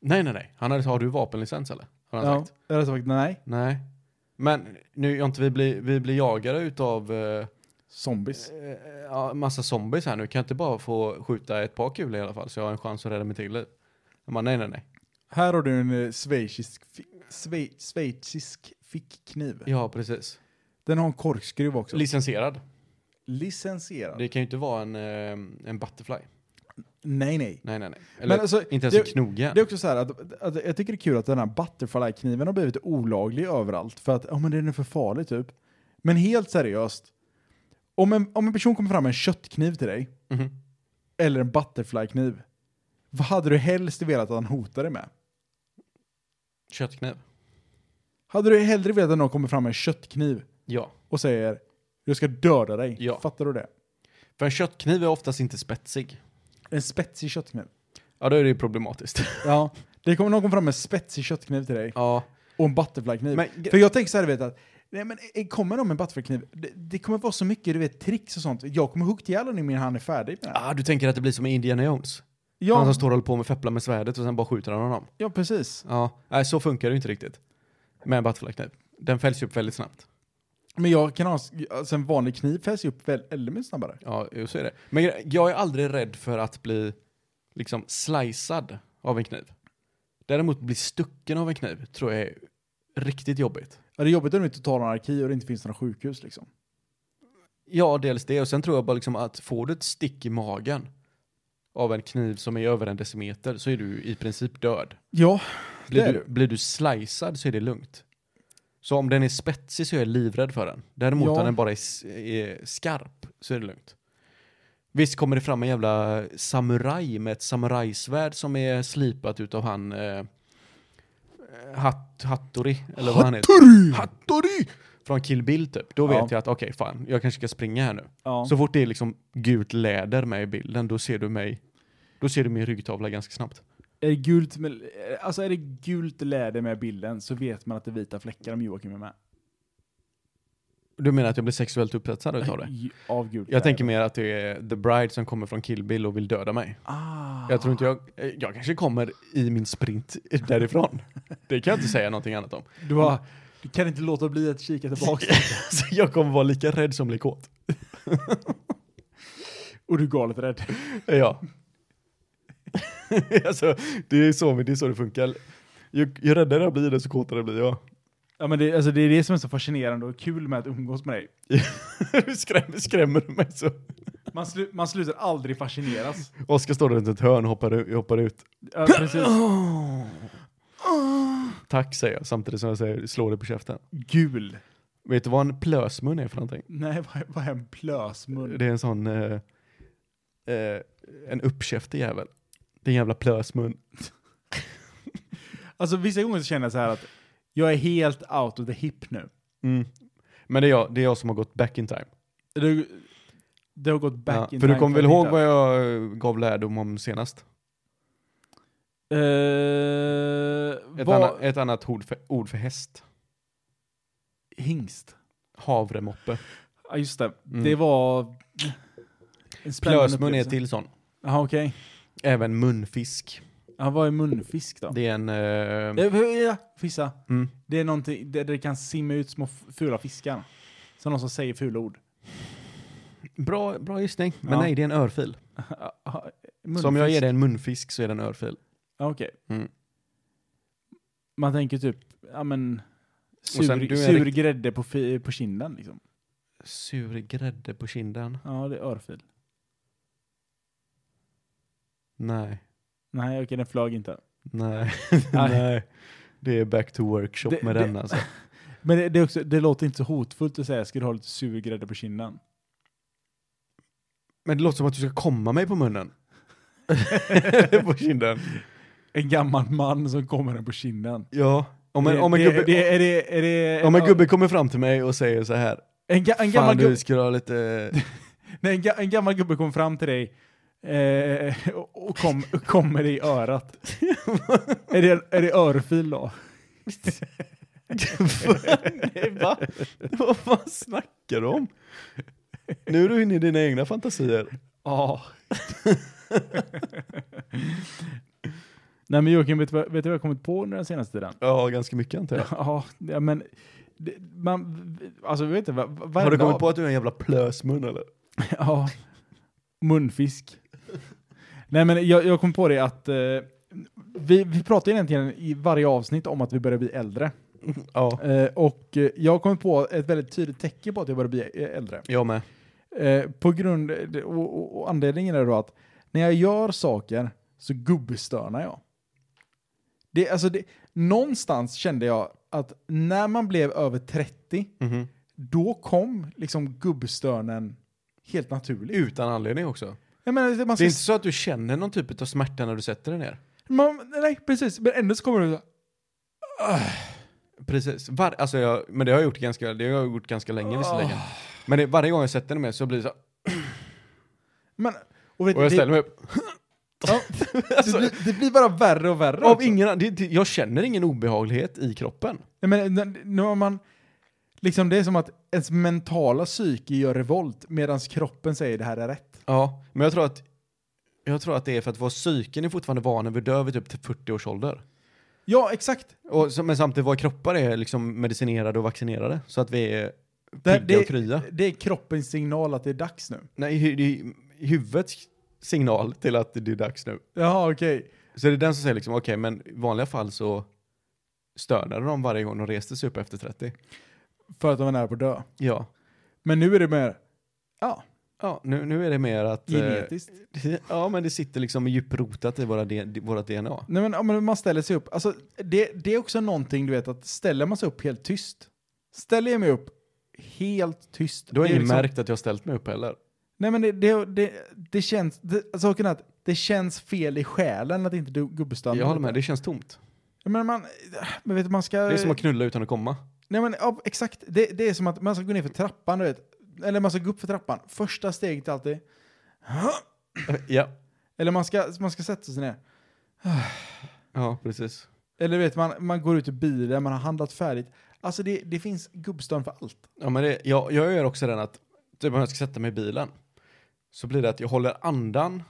Speaker 4: Nej, nej, nej. Han hade, har du vapenlicens eller? Har han
Speaker 3: Ja,
Speaker 4: sagt.
Speaker 3: jag hade sagt nej,
Speaker 4: Nej. Men nu, jag inte vi blir, vi blir jagade utav eh,
Speaker 3: zombies.
Speaker 4: eh, ja, massa zombies här nu. Kan jag inte bara få skjuta ett par kulor i alla fall så jag har en chans att rädda mitt eget liv? Han bara, nej, nej, nej.
Speaker 3: Här har du en eh, schweizisk, fi, sve, schweizisk fickkniv.
Speaker 4: Ja, precis.
Speaker 3: Den har en korkskruv också.
Speaker 4: Licensierad.
Speaker 3: Licensierad.
Speaker 4: Det kan ju inte vara en, eh, en butterfly.
Speaker 3: Nej, nej.
Speaker 4: Nej, nej, nej. Eller
Speaker 3: Men alltså,
Speaker 4: inte ens
Speaker 3: det-
Speaker 4: en knoge.
Speaker 3: Det är också så här att, att jag tycker det är kul att den här butterfly-kniven har blivit olaglig överallt för att ja men den är för farlig typ. Men helt seriöst, om en, om en person kommer fram med en köttkniv till dig
Speaker 4: Mhm.
Speaker 3: eller en butterfly-kniv, vad hade du helst velat att han hotade med?
Speaker 4: Köttkniv.
Speaker 3: Hade du hellre velat att någon kommer fram med en köttkniv
Speaker 4: Ja.
Speaker 3: och säger jag ska döda dig?
Speaker 4: Ja.
Speaker 3: Fattar du det?
Speaker 4: För en köttkniv är oftast inte spetsig.
Speaker 3: En spetsig köttkniv.
Speaker 4: Ja, då är det ju *laughs* problematiskt.
Speaker 3: Ja. Det kommer någon kommer fram med en spetsig köttkniv till dig
Speaker 4: ja.
Speaker 3: och en butterflykniv.
Speaker 4: Men-
Speaker 3: För jag tänker så här, du vet att nej, men, eh, kommer de med en butterflykniv, det, det kommer vara så mycket du vet, tricks och sånt. Jag kommer hugga ihjäl honom innan han är färdig med det här.
Speaker 4: Ah, du tänker att det blir som i Indiana Jones? Han
Speaker 3: Ja,
Speaker 4: som står och håller på med fepplar med svärdet och sen bara skjuter han honom.
Speaker 3: ja, precis.
Speaker 4: Ja, nej så funkar det ju inte riktigt. Med en butterflykniv. Den fälls ju upp väldigt snabbt.
Speaker 3: Men jag kan ha alltså, en vanlig kniv fälls ju upp väl, eller mycket snabbare.
Speaker 4: Ja, jo, så är det. Men gre- jag är aldrig rädd för att bli liksom slicead av en kniv. Däremot bli stucken av en kniv tror jag är riktigt jobbigt.
Speaker 3: Ja, det är jobbigt om det inte tar någon arkiv och det inte finns några sjukhus liksom.
Speaker 4: Ja, dels det. Och sen tror jag bara liksom att får du ett stick i magen av en kniv som är över en decimeter så är du i princip död.
Speaker 3: Ja, Det
Speaker 4: Blir
Speaker 3: är
Speaker 4: du, blir du slicead så är det lugnt. Så om den är spetsig så är jag livrädd för den. Däremot
Speaker 3: Ja.
Speaker 4: om den bara är, s- är skarp så är det lugnt. Visst kommer det fram en jävla samuraj med ett samurajsvärd som är slipat utav han eh, hat, Hattori, eller vad han heter. Hattori! Hattori! Från Kill Bill typ. Då vet
Speaker 3: Ja.
Speaker 4: jag att okej, fan, jag kanske ska springa här nu.
Speaker 3: ja.
Speaker 4: Så fort det är liksom gult läder med i bilden, då ser du mig, då ser du min ryggtavla ganska snabbt.
Speaker 3: är, det gult med, eh, alltså, är det gult läder med bilden så vet man att det är vita fläckar om Joakim är med.
Speaker 4: Du menar att jag blir sexuellt upphetsad utav det?
Speaker 3: Ju- Av gult läder.
Speaker 4: Jag tänker mer att det är The Bride som kommer från Kill Bill och vill döda mig.
Speaker 3: Ah.
Speaker 4: Jag tror inte jag... eh, Jag kanske kommer i min sprint *laughs* därifrån. Det kan jag inte säga någonting annat om.
Speaker 3: Du, bara, du kan inte låta bli att kika tillbaka.
Speaker 4: *laughs* Så *laughs* jag kommer vara lika rädd som blir kåt.
Speaker 3: och du är galet rädd.
Speaker 4: Ja. *laughs* alltså, det är, så, det är så det funkar. Ju, ju räddare jag blir, desto kåtare blir jag. *laughs*
Speaker 3: Ja, men det, alltså, det är det som är så fascinerande och kul med att umgås med dig.
Speaker 4: skrämmer, skrämmer du mig så?
Speaker 3: Man, slu, man slutar
Speaker 4: *laughs*
Speaker 3: aldrig fascineras.
Speaker 4: Oskar står runt ett hörn och hoppar, u- hoppar ut.
Speaker 3: Ja, precis.
Speaker 4: Tack säger jag samtidigt som jag säger slå dig på käften.
Speaker 3: Gul.
Speaker 4: Vet du vad en plösmun är för någonting?
Speaker 3: Nej, vad, vad är en plösmun?
Speaker 4: Det är en sån... Eh, eh, en uppkäftig jävel. Det är en jävla plösmun.
Speaker 3: Alltså vissa gånger så känner jag så här att jag är helt out of the hip nu.
Speaker 4: Mm. Men det är, jag, det är jag som har gått back in time.
Speaker 3: Det, det har gått back
Speaker 4: Ja,
Speaker 3: in
Speaker 4: för
Speaker 3: time
Speaker 4: du kommer väl
Speaker 3: att
Speaker 4: ihåg
Speaker 3: hitta-
Speaker 4: vad jag eh, gav lärdom om senast?
Speaker 3: Eh,
Speaker 4: Ett,
Speaker 3: vad-
Speaker 4: anna, ett annat ord för, ord för häst.
Speaker 3: Hingst.
Speaker 4: Havremoppe.
Speaker 3: Ja, just det.
Speaker 4: Mm.
Speaker 3: Det var... En spännande
Speaker 4: Plösmun är
Speaker 3: upplevelse.
Speaker 4: till sån.
Speaker 3: Jaha, okej.
Speaker 4: Även munfisk.
Speaker 3: Ja, vad är munfisk då?
Speaker 4: Det är en... Eh,
Speaker 3: Eh, ja, Fissa.
Speaker 4: mm.
Speaker 3: Det
Speaker 4: *laughs*
Speaker 3: är någonting där det kan simma ut små f- fula fiskar. Som någon som säger fula ord.
Speaker 4: Bra, bra gissning, men
Speaker 3: Ja.
Speaker 4: nej det är en örfil. Så om jag ger dig en munfisk så är det en örfil.
Speaker 3: Ja, Okej.
Speaker 4: Mm.
Speaker 3: Man tänker typ, ja men, sur,
Speaker 4: sen, du är
Speaker 3: sur
Speaker 4: rikt-
Speaker 3: grädde på, fi, på kinden liksom.
Speaker 4: Sur grädde på kinden?
Speaker 3: Ja, det är örfil.
Speaker 4: Nej,
Speaker 3: Nej, okej, den
Speaker 4: *laughs*
Speaker 3: flög inte.
Speaker 4: nej,
Speaker 3: Nej.
Speaker 4: nej. Det är back to workshop
Speaker 3: Det-
Speaker 4: med
Speaker 3: det-
Speaker 4: den alltså.
Speaker 3: Men det, det, är också, det låter inte så hotfullt att säga, ska du ha lite sur grädde på kinden?
Speaker 4: Men det låter som att du ska komma mig på munnen. *laughs* på kinden.
Speaker 3: En gammal man som kommer den på kinden.
Speaker 4: Ja, om en,
Speaker 3: Det-
Speaker 4: om en
Speaker 3: det-
Speaker 4: gubbe...
Speaker 3: det- är det, är det,
Speaker 4: Om en
Speaker 3: ja,
Speaker 4: gubbe kommer fram till mig och säger så här.
Speaker 3: En, ga, en, gammal
Speaker 4: Fan
Speaker 3: gubbe,
Speaker 4: du skulle ha lite...
Speaker 3: nej, en, ga, en gammal gubbe kom fram till dig eh, och, och, kom, och kommer dig i örat. är, det, är det örfil då?
Speaker 4: Nej, *laughs* va? Vad fan snackar du om? Nu är du inne i dina egna fantasier.
Speaker 3: Ja. Nej men Joakim, vet du, vad, vet du vad jag kommit på under den senaste tiden?
Speaker 4: Ja, ganska mycket antar jag.
Speaker 3: *laughs* Ja, ja men... Det, man, alltså vet inte, vad, vad
Speaker 4: Har du kommit på att du är en jävla plösmun eller?
Speaker 3: Ja. Munfisk. Nej men jag, jag kom på det att eh, vi, vi pratar egentligen i varje avsnitt om att vi börjar bli äldre.
Speaker 4: Ja,
Speaker 3: Eh, och eh, jag kom på ett väldigt tydligt tecken på att jag börjar bli eh, äldre.
Speaker 4: jag med.
Speaker 3: Eh, på grund, och, och, och anledningen är då att när jag gör saker så gubbstörnar jag. Det, alltså det, någonstans kände jag att när man blev över 30,
Speaker 4: Mhm.
Speaker 3: då kom liksom gubbstörnen helt naturligt.
Speaker 4: Utan anledning också.
Speaker 3: Jag menar, man
Speaker 4: Det
Speaker 3: ska,
Speaker 4: är inte så att du känner någon typ av smärta när du sätter dig ner.
Speaker 3: man, nej, precis. Men ändå så kommer det så
Speaker 4: Precis. Var, alltså jag, men det har jag gjort ganska, det har jag gjort ganska länge visserligen.
Speaker 3: Ah.
Speaker 4: Men det, varje gång jag sätter mig ner så blir det så här,
Speaker 3: men, och, vet,
Speaker 4: Och jag
Speaker 3: det,
Speaker 4: ställer mig upp. *laughs*
Speaker 3: Ja, det,
Speaker 4: alltså,
Speaker 3: blir, det blir bara värre och värre.
Speaker 4: av
Speaker 3: också.
Speaker 4: ingen, an- det, det, jag känner ingen obehaglighet i kroppen.
Speaker 3: Nej, men, n- nu har man, liksom, det är som att ens mentala psyke gör revolt medan kroppen säger det här är rätt.
Speaker 4: Ja, men jag tror att jag tror att det är för att vår psyken är fortfarande van vid dö vid typ 40 års ålder.
Speaker 3: Ja, exakt.
Speaker 4: Och, så- men samtidigt, våra kroppar är liksom medicinerade och vaccinerade. Så att vi är
Speaker 3: Det-
Speaker 4: pigga
Speaker 3: det-
Speaker 4: och krya.
Speaker 3: Det är kroppens signal att det är dags nu.
Speaker 4: Nej, hu- det är huvudets signal till att det är dags nu.
Speaker 3: Jaha, okej.
Speaker 4: Så det är den som säger liksom, okej, men i vanliga fall så stönade de varje gång de reste sig upp efter 30.
Speaker 3: För att de är nära på att dö.
Speaker 4: Ja,
Speaker 3: Men nu är det mer, ja,
Speaker 4: ja nu, nu är det mer att... eh,
Speaker 3: genetiskt.
Speaker 4: *laughs* ja, men det sitter liksom djuprotat i våra, D- vårat DNA.
Speaker 3: Nej, men, ja, men man ställer sig upp. Alltså, det, det är också någonting du vet att ställer man sig upp helt tyst. Ställer jag mig upp helt tyst.
Speaker 4: Du har
Speaker 3: det är
Speaker 4: ingen
Speaker 3: liksom-
Speaker 4: märkt att jag ställt mig upp heller.
Speaker 3: Nej men det, det, det, det känns, det, saken är att det känns fel i själen att inte du gubbstannar.
Speaker 4: Jag håller med, det känns tomt.
Speaker 3: Men man, men vet du, man ska...
Speaker 4: Det är som att knulla utan att
Speaker 3: *laughs*
Speaker 4: komma.
Speaker 3: Nej men ja, exakt, det, det är som att man ska gå ner för trappan, du vet. Eller man ska gå upp för trappan. Första steget är alltid...
Speaker 4: Ja.
Speaker 3: Eller man ska, man ska sätta sig ner.
Speaker 4: Ja, precis.
Speaker 3: Eller vet man, man går ut ur bilen, man har handlat färdigt. Alltså det, det finns gubbstön för allt.
Speaker 4: Ja, men det, jag, jag gör också den att, typ om jag ska sätta mig i bilen, så blir det att jag håller andan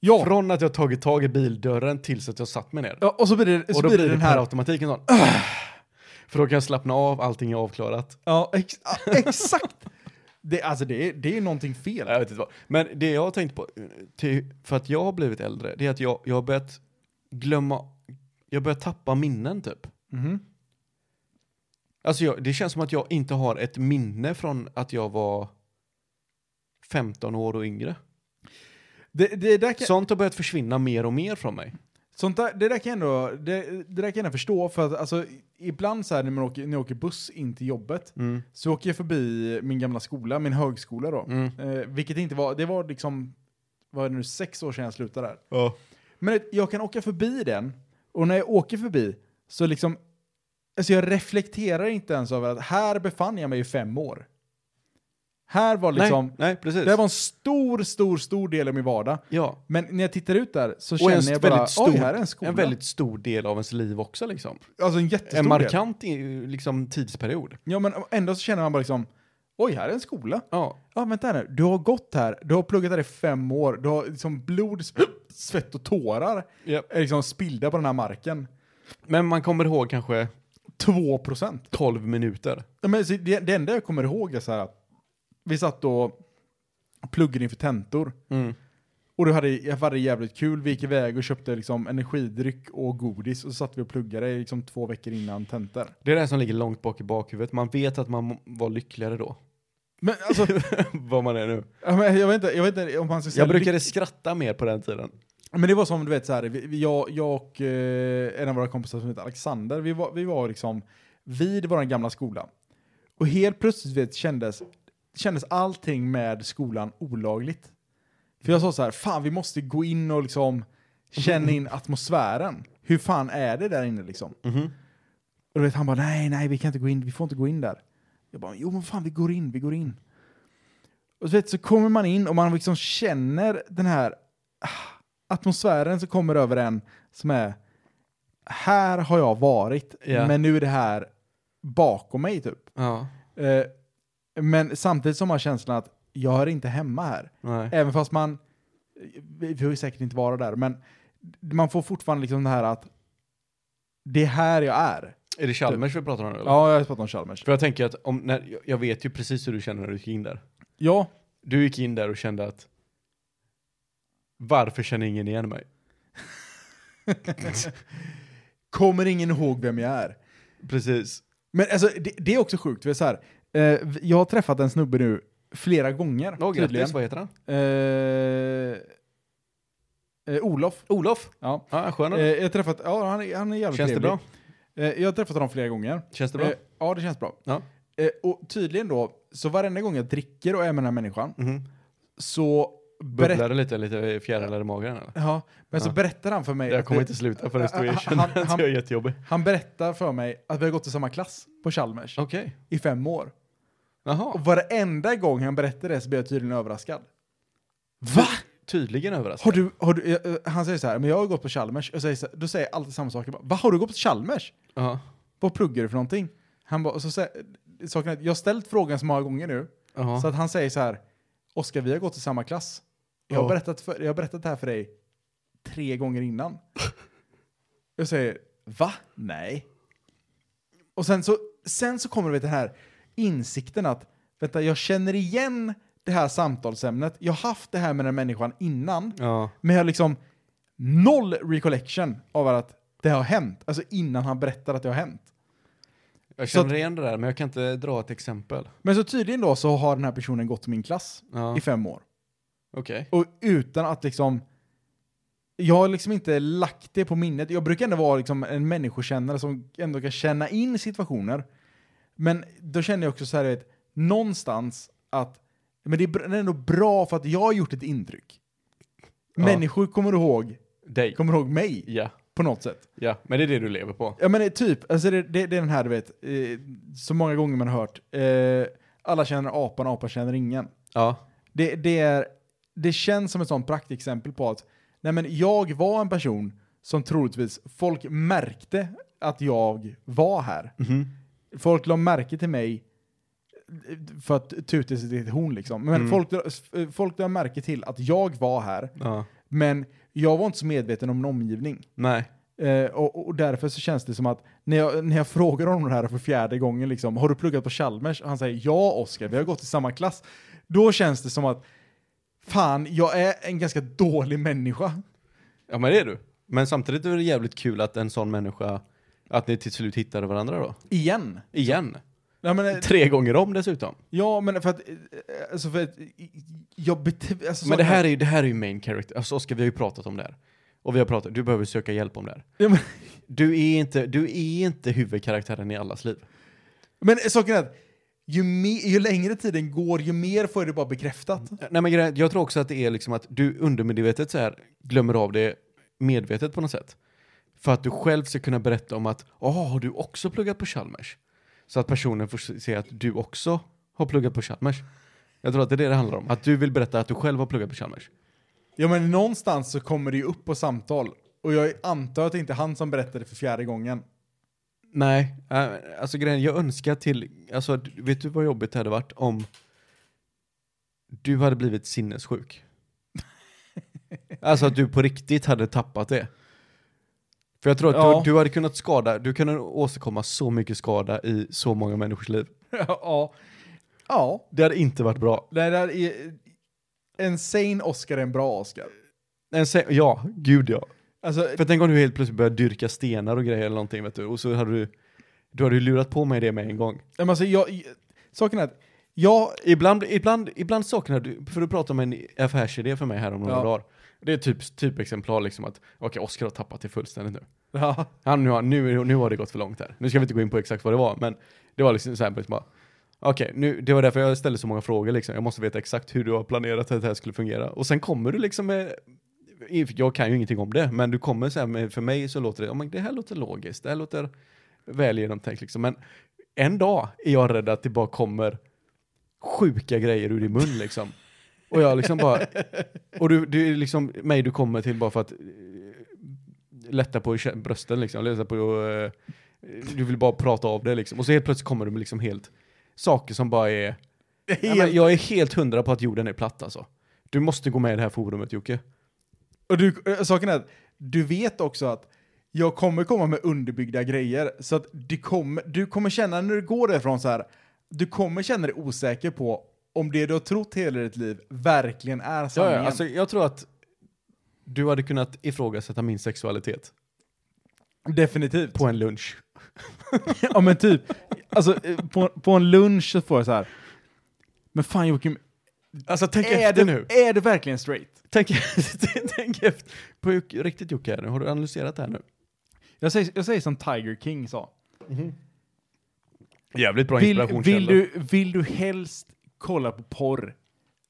Speaker 3: Ja!
Speaker 4: från att jag tagit tag i bildörren tills att jag satt mig ner.
Speaker 3: ja och så blir det, så
Speaker 4: och då
Speaker 3: blir det den
Speaker 4: per
Speaker 3: här...
Speaker 4: automatik en sån. *clears throat* För då kan jag slappna av, allting är avklarat.
Speaker 3: Ja, ex, ja, *laughs* exakt! Det, alltså det, är- det är någonting fel.
Speaker 4: Nej, Jag vet inte vad. Men det jag har tänkt på, eh, till, för att jag har blivit äldre, det är att jag, jag har börjat glömma, jag börjar tappa minnen typ.
Speaker 3: Mhm.
Speaker 4: Alltså jag, det känns som att jag inte har ett minne från att jag var 15 år och yngre.
Speaker 3: Det, det, där kan,
Speaker 4: Sånt har börjat försvinna mer och mer från mig.
Speaker 3: sånt där, det där kan jag ändå, det, det där kan jag ändå förstå, för att alltså, ibland så här när, man åker, när jag åker buss in till jobbet,
Speaker 4: Mm.
Speaker 3: så åker jag förbi min gamla skola, min högskola då.
Speaker 4: Mm.
Speaker 3: Eh, vilket inte var, det var liksom, vad är det nu, sex år sedan jag slutade där. Men det- jag kan åka förbi den, och när jag åker förbi så liksom, alltså jag reflekterar inte ens över att här befann jag mig i fem år. Här var liksom,
Speaker 4: nej, nej, precis.
Speaker 3: det här var en stor, stor, stor del av min vardag.
Speaker 4: ja.
Speaker 3: Men när jag tittar ut där så
Speaker 4: Och en
Speaker 3: känner jag bara,
Speaker 4: väldigt stor,
Speaker 3: oj här är en skola.
Speaker 4: en väldigt stor del av ens liv också liksom.
Speaker 3: alltså en jättestor
Speaker 4: en
Speaker 3: del.
Speaker 4: markant i- liksom, tidsperiod.
Speaker 3: Ja men ändå så känner man bara liksom, oj här är en skola.
Speaker 4: Ja.
Speaker 3: Ja, vänta här nu. Du har gått här, du har pluggat här i fem år, du har liksom blod, sp- *gasps* svett och tårar är liksom spillda på den här marken.
Speaker 4: Men man kommer ihåg kanske
Speaker 3: Två procent.
Speaker 4: 12 minuter.
Speaker 3: Ja, men så Det, det enda jag kommer ihåg är så här, att vi satt och pluggen inför tentor.
Speaker 4: Mm.
Speaker 3: Och du hade, jag hade jävligt kul, vi gick iväg och köpte liksom energidryck och godis och så satt vi och pluggade liksom två veckor innan tentor.
Speaker 4: Det är det här som ligger långt bak i bakhuvudet. Man vet att man var lyckligare då.
Speaker 3: Men alltså,
Speaker 4: *laughs* Vad man är nu.
Speaker 3: ja, men jag, vet inte, jag vet inte om man ska säga...
Speaker 4: Jag brukade skratta mer på den tiden.
Speaker 3: Men det var som du vet, så här, vi- vi- jag, jag och eh, en av våra kompisar som heter Alexander, vi var, vi var liksom vid vår gamla skola. Och helt plötsligt vet, kändes, kändes allting med skolan olagligt. För jag sa så här, fan vi måste gå in och liksom känna in atmosfären. Hur fan är det där inne liksom?
Speaker 4: Mhm.
Speaker 3: Och du vet, han bara, nej, nej, vi kan inte gå in, vi får inte gå in där. Jag bara, jo men fan vi går in, vi går in. Och så, vet, så kommer man in och man liksom känner den här ah, atmosfären som kommer över en som är här har jag varit,
Speaker 4: Ja.
Speaker 3: men nu är det här bakom mig typ.
Speaker 4: Ja.
Speaker 3: Eh, men samtidigt som man har känslan att jag hör inte hemma här.
Speaker 4: Nej.
Speaker 3: Även fast man, vi vi har ju säkert inte vara där, men man får fortfarande liksom det här att det är här jag är.
Speaker 4: Är det Chalmers vi pratar om nu? eller?
Speaker 3: Ja, jag har pratat om Chalmers.
Speaker 4: För jag tänker att om, när, jag- jag vet ju precis hur du känner när du gick in där.
Speaker 3: Ja,
Speaker 4: Du gick in där och kände att varför känner ingen igen mig?
Speaker 3: *laughs* kommer ingen ihåg vem jag är.
Speaker 4: Precis.
Speaker 3: Men alltså, det, det är också sjukt. Det är så här, eh, jag har träffat en snubbe nu flera gånger.
Speaker 4: Åh,
Speaker 3: tydligen.
Speaker 4: grattis, vad heter han?
Speaker 3: Eh, eh, Olof.
Speaker 4: Olof.
Speaker 3: Ja.
Speaker 4: Ja, skön.
Speaker 3: Eh, jag har träffat, ja, han, är- han är jävligt
Speaker 4: Känns det
Speaker 3: trevlig.
Speaker 4: bra?
Speaker 3: Eh, jag har träffat honom flera gånger.
Speaker 4: Känns det bra?
Speaker 3: Eh, ja, det känns bra.
Speaker 4: Ja.
Speaker 3: Eh, och tydligen då, så varenda gång jag dricker och är med den här människan
Speaker 4: Mhm.
Speaker 3: så,
Speaker 4: Bubblar
Speaker 3: berätt,
Speaker 4: det lite, lite fjärilar i magen eller?
Speaker 3: ja, men så
Speaker 4: Ja.
Speaker 3: berättar han för mig
Speaker 4: Jag
Speaker 3: att
Speaker 4: kommer
Speaker 3: det-
Speaker 4: inte sluta förrän
Speaker 3: Han-
Speaker 4: jag *laughs* känner
Speaker 3: han-
Speaker 4: att jag är jättejobbig.
Speaker 3: han berättar för mig att vi har gått i samma klass på Chalmers
Speaker 4: Okej.
Speaker 3: i fem år.
Speaker 4: Jaha.
Speaker 3: Och varenda gång han berättar det så blir jag tydligen överraskad. Va?
Speaker 4: Tydligen
Speaker 3: Har
Speaker 4: överraskad.
Speaker 3: du, har du, eh, eh, han säger så här, men jag har gått på Chalmers. Jag säger så här, då säger jag alltid samma sak. Jag bara, Va, har du gått på Chalmers?
Speaker 4: Ja.
Speaker 3: Vad pluggar du för någonting? Han bara, och så säger, saken är, att jag har ställt frågan så många gånger nu,
Speaker 4: Jaha.
Speaker 3: så att han säger så här, Oskar, vi har gått i samma klass. Jag har,
Speaker 4: Ja.
Speaker 3: berättat för, jag har berättat det här för dig tre gånger innan. jag säger, va? Nej. Och sen så, sen så kommer vet, den här insikten att, vänta, jag känner igen det här samtalsämnet. Jag har haft det här med den här människan innan.
Speaker 4: Ja.
Speaker 3: Men jag har liksom noll recollection av att det har hänt. Alltså innan han berättar att det har hänt.
Speaker 4: Jag
Speaker 3: Så att-
Speaker 4: känner igen det där, men jag kan inte dra ett exempel.
Speaker 3: Men så tydligen då så har den här personen gått i min klass
Speaker 4: Ja.
Speaker 3: i fem år.
Speaker 4: Okej.
Speaker 3: Och utan att liksom... Jag har liksom inte lagt det på minnet. Jag brukar ändå vara liksom en människokännare som ändå kan känna in situationer. Men då känner jag också så här, du vet, någonstans att men det är br- det är ändå bra för att jag har gjort ett intryck.
Speaker 4: Ja.
Speaker 3: Människor kommer ihåg,
Speaker 4: Dig.
Speaker 3: kommer ihåg mig
Speaker 4: Ja.
Speaker 3: på något sätt.
Speaker 4: Ja. Men det är det du lever på.
Speaker 3: Ja men det är typ, alltså det, det, det är den här du vet, eh, så många gånger man har hört. Eh, alla känner apan, apan känner ingen.
Speaker 4: Ja.
Speaker 3: Det, det, är, det känns som ett sånt praktexempel på att nej men jag var en person som troligtvis folk märkte att jag var här.
Speaker 4: Mhm.
Speaker 3: Folk la märke till mig eh, för att tuta sig till horn liksom. Men
Speaker 4: Mm.
Speaker 3: folk, la- eh, folk la märke till att jag var här,
Speaker 4: Ja.
Speaker 3: men jag var inte så medveten om min omgivning.
Speaker 4: Nej.
Speaker 3: Eh, och, och därför så känns det som att när jag, när jag *laughs* frågar honom det här för fjärde gången, liksom, har du pluggat på Chalmers? Och han säger ja Oskar, vi har gått i samma klass. Då känns det som att fan, jag är en ganska dålig människa.
Speaker 4: Ja, men det är du. Men samtidigt är det jävligt kul att en sån människa, att ni till slut hittade varandra då.
Speaker 3: Igen.
Speaker 4: Igen.
Speaker 3: Ja men, eh,
Speaker 4: Tre gånger om dessutom.
Speaker 3: ja, men för att... eh, Alltså för att eh, jag bete- alltså,
Speaker 4: Men det här är ju, det här är ju main character. Alltså Oskar, vi har ju pratat om det här. Och vi har pratat, du behöver söka hjälp om det här.
Speaker 3: Ja, men,
Speaker 4: Du är inte, du är inte huvudkaraktären i allas liv.
Speaker 3: men saken är att ju, me- ju längre tiden går, ju mer får jag det bara bekräftat.
Speaker 4: Nej men grejen- jag tror också att det är liksom att du undermedvetet så här glömmer av det medvetet på något sätt. För att du själv ska kunna berätta om att, åh, har du också pluggat på Chalmers? Så att personen får se att du också har pluggat på Chalmers. Jag tror att det är det det handlar om. Att du vill berätta att du själv har pluggat på Chalmers.
Speaker 3: Ja men någonstans så kommer det ju upp på samtal. Och jag antar att det inte är han som berättade för fjärde gången.
Speaker 4: Nej, äh, alltså grejen, jag önskar till, alltså d- vet du vad jobbigt det hade varit om du hade blivit sinnessjuk?
Speaker 3: *laughs*
Speaker 4: alltså att du på riktigt hade tappat det. För jag tror att
Speaker 3: Ja.
Speaker 4: du, du hade kunnat skada, du kunde åstadkomma så mycket skada i så många människors liv.
Speaker 3: *laughs* ja. Ja.
Speaker 4: Det hade inte varit bra.
Speaker 3: Det där är... En sane Oscar är en bra Oscar.
Speaker 4: En se- ja, gud ja.
Speaker 3: Alltså,
Speaker 4: För tänk om du helt plötsligt börjar dyrka stenar och grejer eller någonting vet du. Och så hade du, du hade ju lurat på mig det med en gång.
Speaker 3: men alltså jag, saken är att jag,
Speaker 4: Ibland, ibland, ibland saknar du, för du pratade om en affärsidé för mig här om några
Speaker 3: Ja.
Speaker 4: dagar. Det är typ, typ exemplar liksom att, okej Oscar har tappat det fullständigt nu.
Speaker 3: ja,
Speaker 4: Han, nu, har- nu, nu har det gått för långt här. Nu ska vi inte gå in på exakt vad det var, men det var liksom så här, liksom bara, okej, nu det var därför jag ställde så många frågor liksom. Jag måste veta exakt hur du har planerat att det här skulle fungera. Och sen kommer du liksom med, jag kan ju ingenting om det, men du kommer så här med, för mig så låter det, oh, men det här låter logiskt, det här låter väl genomtänkt liksom. Men en dag är jag rädd att det bara kommer sjuka grejer ur din mun liksom. Och jag liksom bara, och du, du är liksom mig du kommer till bara för att eh, lätta på kä- brösten liksom, lätta på, eh, du vill bara prata av det liksom. Och så helt plötsligt kommer du med liksom helt, saker som bara är, Nej, men jag är *laughs* helt hundra på att jorden är platt alltså. Du måste gå med i det här forumet Jocke.
Speaker 3: och du, eh, saken är att du vet också att jag kommer komma med underbyggda grejer. Så att du kommer, du kommer känna när du går därifrån så här, du kommer känna dig osäker på om det du har trott hela ditt liv verkligen är
Speaker 4: Ja,
Speaker 3: sanningen.
Speaker 4: ja, alltså jag tror att du hade kunnat ifrågasätta min sexualitet
Speaker 3: Definitivt.
Speaker 4: på en lunch.
Speaker 3: Ja men typ, alltså eh, på, på en lunch så får jag så här. Men fan Joakim,
Speaker 4: Alltså tänk
Speaker 3: är
Speaker 4: efter
Speaker 3: du,
Speaker 4: nu.
Speaker 3: är du verkligen straight?
Speaker 4: Tänk, *laughs* tänk efter. På Jocke- riktigt Jocke här nu, har du analyserat det här nu?
Speaker 3: Jag säger, jag säger som Tiger King sa.
Speaker 4: Jävligt bra
Speaker 3: Vill,
Speaker 4: inspirationskälla.
Speaker 3: vill, du, vill du helst kolla på porr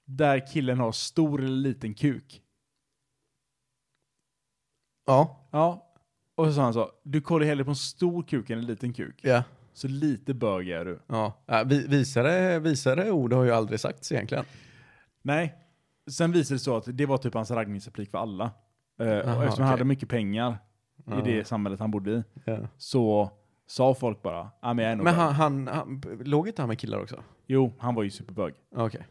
Speaker 3: där killen har stor eller liten kuk?
Speaker 4: Ja.
Speaker 3: Ja. Och så sa han så, du kollar hellre på en stor kuk än en liten kuk.
Speaker 4: Ja.
Speaker 3: Så lite bög är du.
Speaker 4: Ja, äh, vi- visare, visare ord har ju aldrig sagts egentligen.
Speaker 3: Nej. Sen visade det sig att det var typ hans raggningsreplik för alla. Eh, och eftersom
Speaker 4: Aha,
Speaker 3: han hade
Speaker 4: okej.
Speaker 3: mycket pengar i det samhället han bodde i. så sa folk bara, ah, men jag är nog
Speaker 4: Men
Speaker 3: bög."
Speaker 4: han, han, han, låg inte han med killar också?
Speaker 3: Jo, han var ju superbög.
Speaker 4: Okej.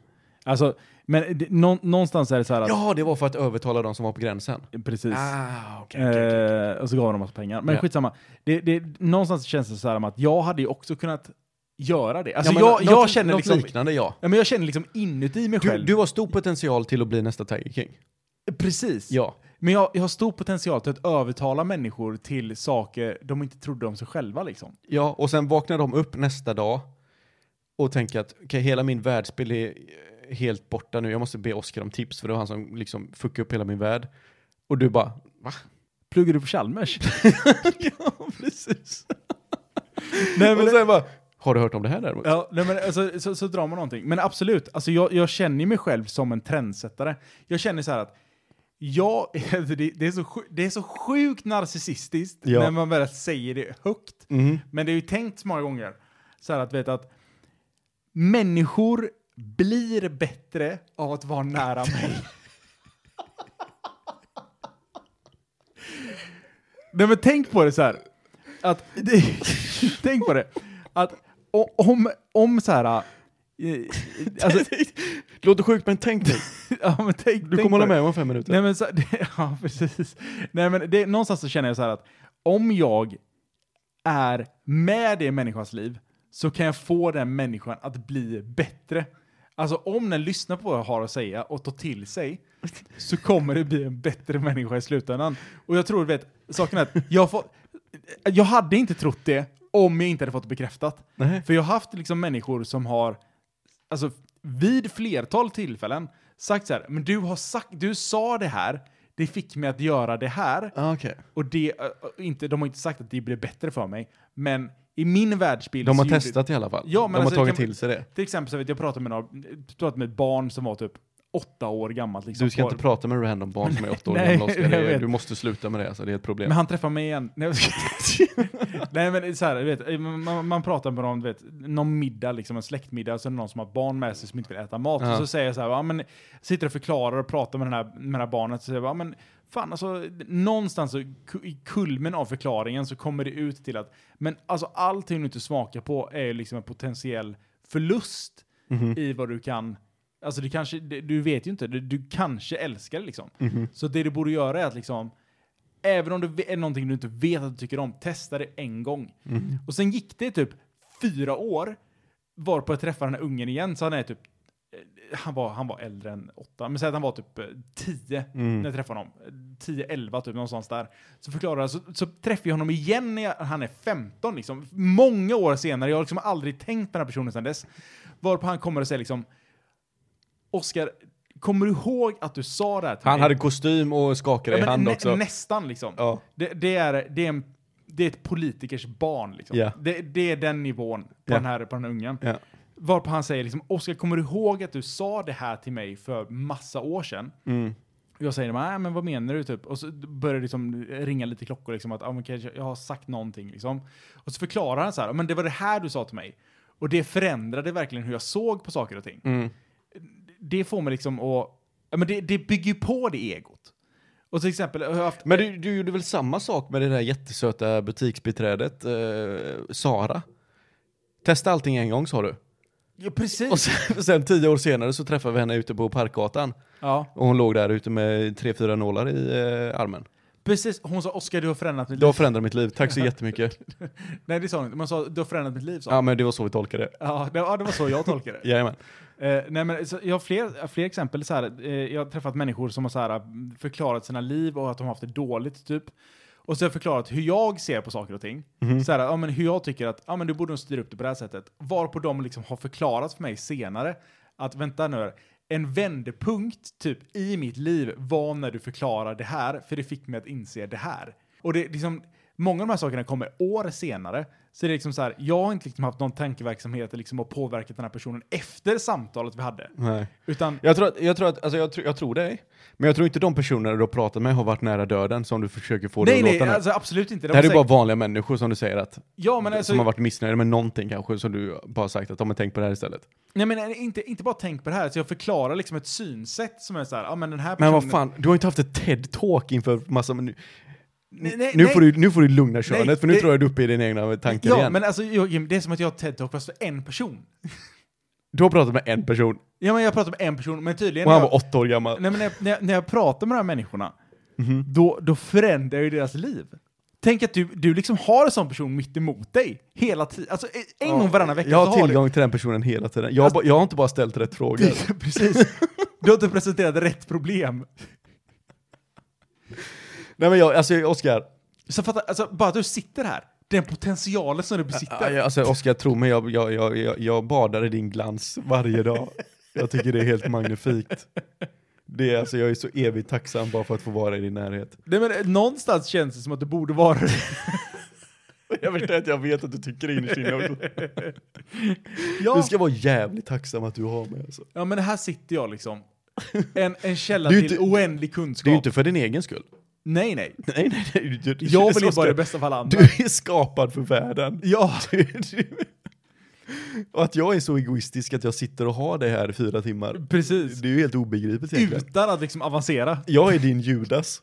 Speaker 3: Alltså, men det, nå, någonstans är det så här att...
Speaker 4: Ja, det var för att övertala de som var på gränsen.
Speaker 3: Precis.
Speaker 4: Ah, okej. okej, okej.
Speaker 3: Eh, och så gav de massa pengar. Men
Speaker 4: Ja.
Speaker 3: skitsamma. Det, det, någonstans känns det så här om att jag hade ju också kunnat göra det. Alltså
Speaker 4: Ja, men
Speaker 3: jag, jag
Speaker 4: något-
Speaker 3: känner
Speaker 4: något
Speaker 3: liksom...
Speaker 4: liknande, ja.
Speaker 3: Ja, men jag känner liksom inuti mig
Speaker 4: Du,
Speaker 3: själv.
Speaker 4: du har stor potential till att bli nästa Tiger King.
Speaker 3: Precis.
Speaker 4: Ja.
Speaker 3: Men jag, jag har stor potential till att övertala människor till saker de inte trodde om sig själva liksom.
Speaker 4: Ja, och sen vaknar de upp nästa dag och tänker att okej, hela min världsbild är eh, helt borta nu. Jag måste be Oscar om tips för det var han som liksom fuckade upp hela min värld. Och du bara, va?
Speaker 3: Pluggar du på
Speaker 4: *laughs*
Speaker 3: Chalmers?
Speaker 4: ja, precis.
Speaker 3: Nej,
Speaker 4: och sen bara, har du hört om det här däremot?
Speaker 3: Ja, nej, men alltså, så, så drar man någonting. Men absolut, alltså, jag, jag känner mig själv som en trendsättare. Jag känner så här att jag, *laughs* alltså, det, det, är så sju, det är så sjukt narcissistiskt
Speaker 4: Ja.
Speaker 3: när man väl säger det högt.
Speaker 4: Mm.
Speaker 3: Men det är ju tänkt så många gånger. Så här att, vet att människor blir bättre av att
Speaker 4: *laughs*
Speaker 3: vara nära mig. Nej men tänk på det så här. Att, det, *laughs* tänk på det. Att o- om, om så här... *laughs* eh, Alltså,
Speaker 4: Låter sjukt men tänk
Speaker 3: *laughs*
Speaker 4: dig.
Speaker 3: ja, men tänk,
Speaker 4: Du
Speaker 3: tänk
Speaker 4: kommer
Speaker 3: på
Speaker 4: hålla
Speaker 3: det.
Speaker 4: med om fem minuter.
Speaker 3: Nej men, så, det, *laughs* ja, precis. Nej, men det, någonstans så känner jag så här att om jag är med i en människas liv så kan jag få den människan att bli bättre. Alltså om den lyssnar på vad jag har att säga och tar till sig så kommer det bli en bättre människa i slutändan. Och jag tror, vet, saken är att jag, får, jag hade inte trott det om jag inte hade fått det bekräftat.
Speaker 4: Nej.
Speaker 3: För jag har haft liksom människor som har, alltså vid flertal tillfällen, sagt så här, men du har sagt, du sa det här, det fick mig att göra det här.
Speaker 4: Ah, okej.
Speaker 3: Och det, ö, ö, inte, de har inte sagt att det blir bättre för mig, men i min världsbild
Speaker 4: De har
Speaker 3: så gjorde-
Speaker 4: testat i alla fall.
Speaker 3: Ja, men
Speaker 4: de
Speaker 3: alltså,
Speaker 4: har tagit
Speaker 3: kan-
Speaker 4: till sig det.
Speaker 3: Till exempel så vet jag, jag pratade med, några, pratade med ett barn som var typ åtta år gammalt. Liksom,
Speaker 4: Du ska
Speaker 3: på-
Speaker 4: inte prata med random barn som är åtta år
Speaker 3: Nej,
Speaker 4: gamla Oskar. Det
Speaker 3: jag
Speaker 4: är-
Speaker 3: vet.
Speaker 4: Du måste sluta med det, alltså, det är ett problem.
Speaker 3: Men han träffar mig igen. Nej, jag skojar. *laughs* Nej men så här, du vet, man, man pratar med någon, du vet, någon middag, liksom, en släktmiddag, så är det någon som har barn med sig som inte vill äta mat.
Speaker 4: Ja.
Speaker 3: Och så säger jag så här, ja, men, sitter och förklarar och pratar med, den här, med det här barnet. Så säger jag, ja, men, fan alltså, någonstans så, ku- i kulmen av förklaringen så kommer det ut till att, men alltså allting du inte smakar på är ju liksom en potentiell förlust i vad du kan Alltså du kanske, det- du vet ju inte, du, du kanske älskar det liksom. Så det du borde göra är att liksom, Även om det är någonting du inte vet att du tycker om, testa det en gång. Och sen gick det typ fyra år, varpå jag träffade den här ungen igen, så han är typ eh, han var, han var äldre än åtta, men säg att han var typ eh, tio
Speaker 4: Mm.
Speaker 3: när jag träffade honom. 10-11 typ, någonstans där. Så förklarar jag, så, så träffar jag honom igen när jag, han är 15 liksom. Många år senare, jag har liksom aldrig tänkt på den här personen sedan dess. Varpå han kommer och säger liksom, Oskar, kommer du ihåg att du sa det här till
Speaker 4: Han
Speaker 3: mig?
Speaker 4: hade kostym och skakade i
Speaker 3: men
Speaker 4: hand
Speaker 3: nä-
Speaker 4: också.
Speaker 3: Nästan liksom.
Speaker 4: Ja.
Speaker 3: Det, det, är, det, är en, det är ett politikers barn. Liksom.
Speaker 4: Ja.
Speaker 3: Det, det är den nivån på,
Speaker 4: Ja.
Speaker 3: den, här, på den här ungen.
Speaker 4: Ja.
Speaker 3: Varpå han säger liksom, Oskar, kommer du ihåg att du sa det här till mig för massa år sedan?
Speaker 4: Mm.
Speaker 3: Jag säger, nej men vad menar du typ? Och så börjar det liksom ringa lite klockor liksom att, ah, men kanske jag har sagt någonting liksom. Och så förklarar han så här, men det var det här du sa till mig. Och det förändrade verkligen hur jag såg på saker och ting
Speaker 4: Mm.
Speaker 3: det får mig liksom att... Ja, men det, det bygger ju på det egot. Och till exempel, jag har haft...
Speaker 4: Men du, du gjorde väl samma sak med det där jättesöta butiksbiträdet, eh, Sara? Testa allting en gång sa du.
Speaker 3: Ja, precis.
Speaker 4: Och sen, *laughs* sen tio år senare så träffade vi henne ute på Parkgatan.
Speaker 3: ja,
Speaker 4: Och hon låg där ute med tre, fyra nålar i eh, armen.
Speaker 3: precis. Hon sa Oskar, du har förändrat mitt
Speaker 4: Det
Speaker 3: liv.
Speaker 4: har förändrat mitt liv, tack så
Speaker 3: *laughs*
Speaker 4: jättemycket.
Speaker 3: Nej, det sa hon inte. Man sa, du har förändrat mitt liv, sa hon.
Speaker 4: Ja men det var så vi tolkade det.
Speaker 3: Ja, det, ja, det var så jag tolkade det.
Speaker 4: Jajamän.
Speaker 3: Eh, nej, men, så, jag har fler, fler exempel. Så här, eh, jag har träffat människor som har så här, eh, förklarat sina liv och att de har haft det dåligt, typ. Och så har jag förklarat hur jag ser på saker och ting. Så här, ja, men hur jag tycker att ja, men du borde nog styra upp det på det här sättet. Varpå de liksom har förklarat för mig senare att vänta nu, här, en vändpunkt typ i mitt liv var när du förklarade det här, för det fick mig att inse det här. Och det är liksom, många av de här sakerna kommer år senare. Så det är liksom så här, jag har inte liksom haft någon tankeverksamhet liksom och påverkat den här personen efter samtalet vi hade.
Speaker 4: Nej.
Speaker 3: Utan,
Speaker 4: Jag tror att, jag tror att, alltså jag, tror- jag tror dig. Men jag tror inte de personer du har pratat med har varit nära döden som du försöker få
Speaker 3: nej,
Speaker 4: det att
Speaker 3: nej,
Speaker 4: låta nu.
Speaker 3: alltså, absolut inte.
Speaker 4: Det här är
Speaker 3: var
Speaker 4: bara
Speaker 3: säkert-
Speaker 4: vanliga människor som du säger att,
Speaker 3: ja, men alltså,
Speaker 4: som har varit missnöjda med någonting kanske, som du bara sagt att de har tänkt på det här istället.
Speaker 3: nej, men inte, inte bara tänk på det här, så jag förklarar liksom ett synsätt som är så här, ja men den här
Speaker 4: Men
Speaker 3: personen...
Speaker 4: vad fan, du har inte haft ett TED-talk inför massa... Men nu,
Speaker 3: Nej, nej,
Speaker 4: nu,
Speaker 3: nej.
Speaker 4: Får du, nu får du lugna könet, för nu
Speaker 3: det-
Speaker 4: tror jag du är uppe i dina egna tankar
Speaker 3: Ja,
Speaker 4: igen.
Speaker 3: men alltså Joakim, det är som att jag har TED-talk fast för en person.
Speaker 4: Du har pratat med en person,
Speaker 3: Ja, men jag pratar med en person, men tydligen...
Speaker 4: och han
Speaker 3: jag-
Speaker 4: var åtta år gammal.
Speaker 3: Nej, men när, jag- när, jag- när jag pratar med de här människorna, då, då förändrar jag ju deras liv. Tänk att du, du liksom har en sån person mitt emot dig hela tiden. Alltså en- en gång varannan vecka
Speaker 4: Jag
Speaker 3: så
Speaker 4: har tillgång till den personen hela tiden. Jag, har ba- jag har inte bara ställt rätt frågor. *laughs*
Speaker 3: har du... Precis. *laughs* Du har inte presenterat rätt problem.
Speaker 4: Nej men jag, alltså Oskar,
Speaker 3: Så fatta, alltså, bara att du sitter här, den potentialen som du besitter.
Speaker 4: Aj, Alltså Oskar, tro mig, jag, jag, jag, jag, jag badar i din glans varje dag. Jag tycker det är helt magnifikt. Det är, alltså, jag är så evigt tacksam bara för att få vara i din närhet.
Speaker 3: Nej, men, eh, någonstans känns det som att det borde vara det.
Speaker 4: *laughs* Jag vet att jag vet att du tycker det innerst inne *laughs* också.
Speaker 3: ja.
Speaker 4: Du ska vara jävligt tacksam att du har mig alltså.
Speaker 3: ja, men här sitter jag liksom. En, en källa
Speaker 4: Det är
Speaker 3: till
Speaker 4: ju inte-
Speaker 3: oändlig kunskap.
Speaker 4: Det är ju inte för din egen skull. *laughs*
Speaker 3: Nej, nej.
Speaker 4: Nej, nej, nej. Du, du,
Speaker 3: Jag vill ju
Speaker 4: Oskar,
Speaker 3: bara det bästa för alla andra.
Speaker 4: Du är skapad för världen.
Speaker 3: Ja.
Speaker 4: *laughs* Du, du. Och att jag är så egoistisk att jag sitter och har dig här i fyra timmar.
Speaker 3: Precis.
Speaker 4: Det är ju helt obegripligt egentligen.
Speaker 3: Utan att liksom avancera.
Speaker 4: Jag är din *laughs* Judas.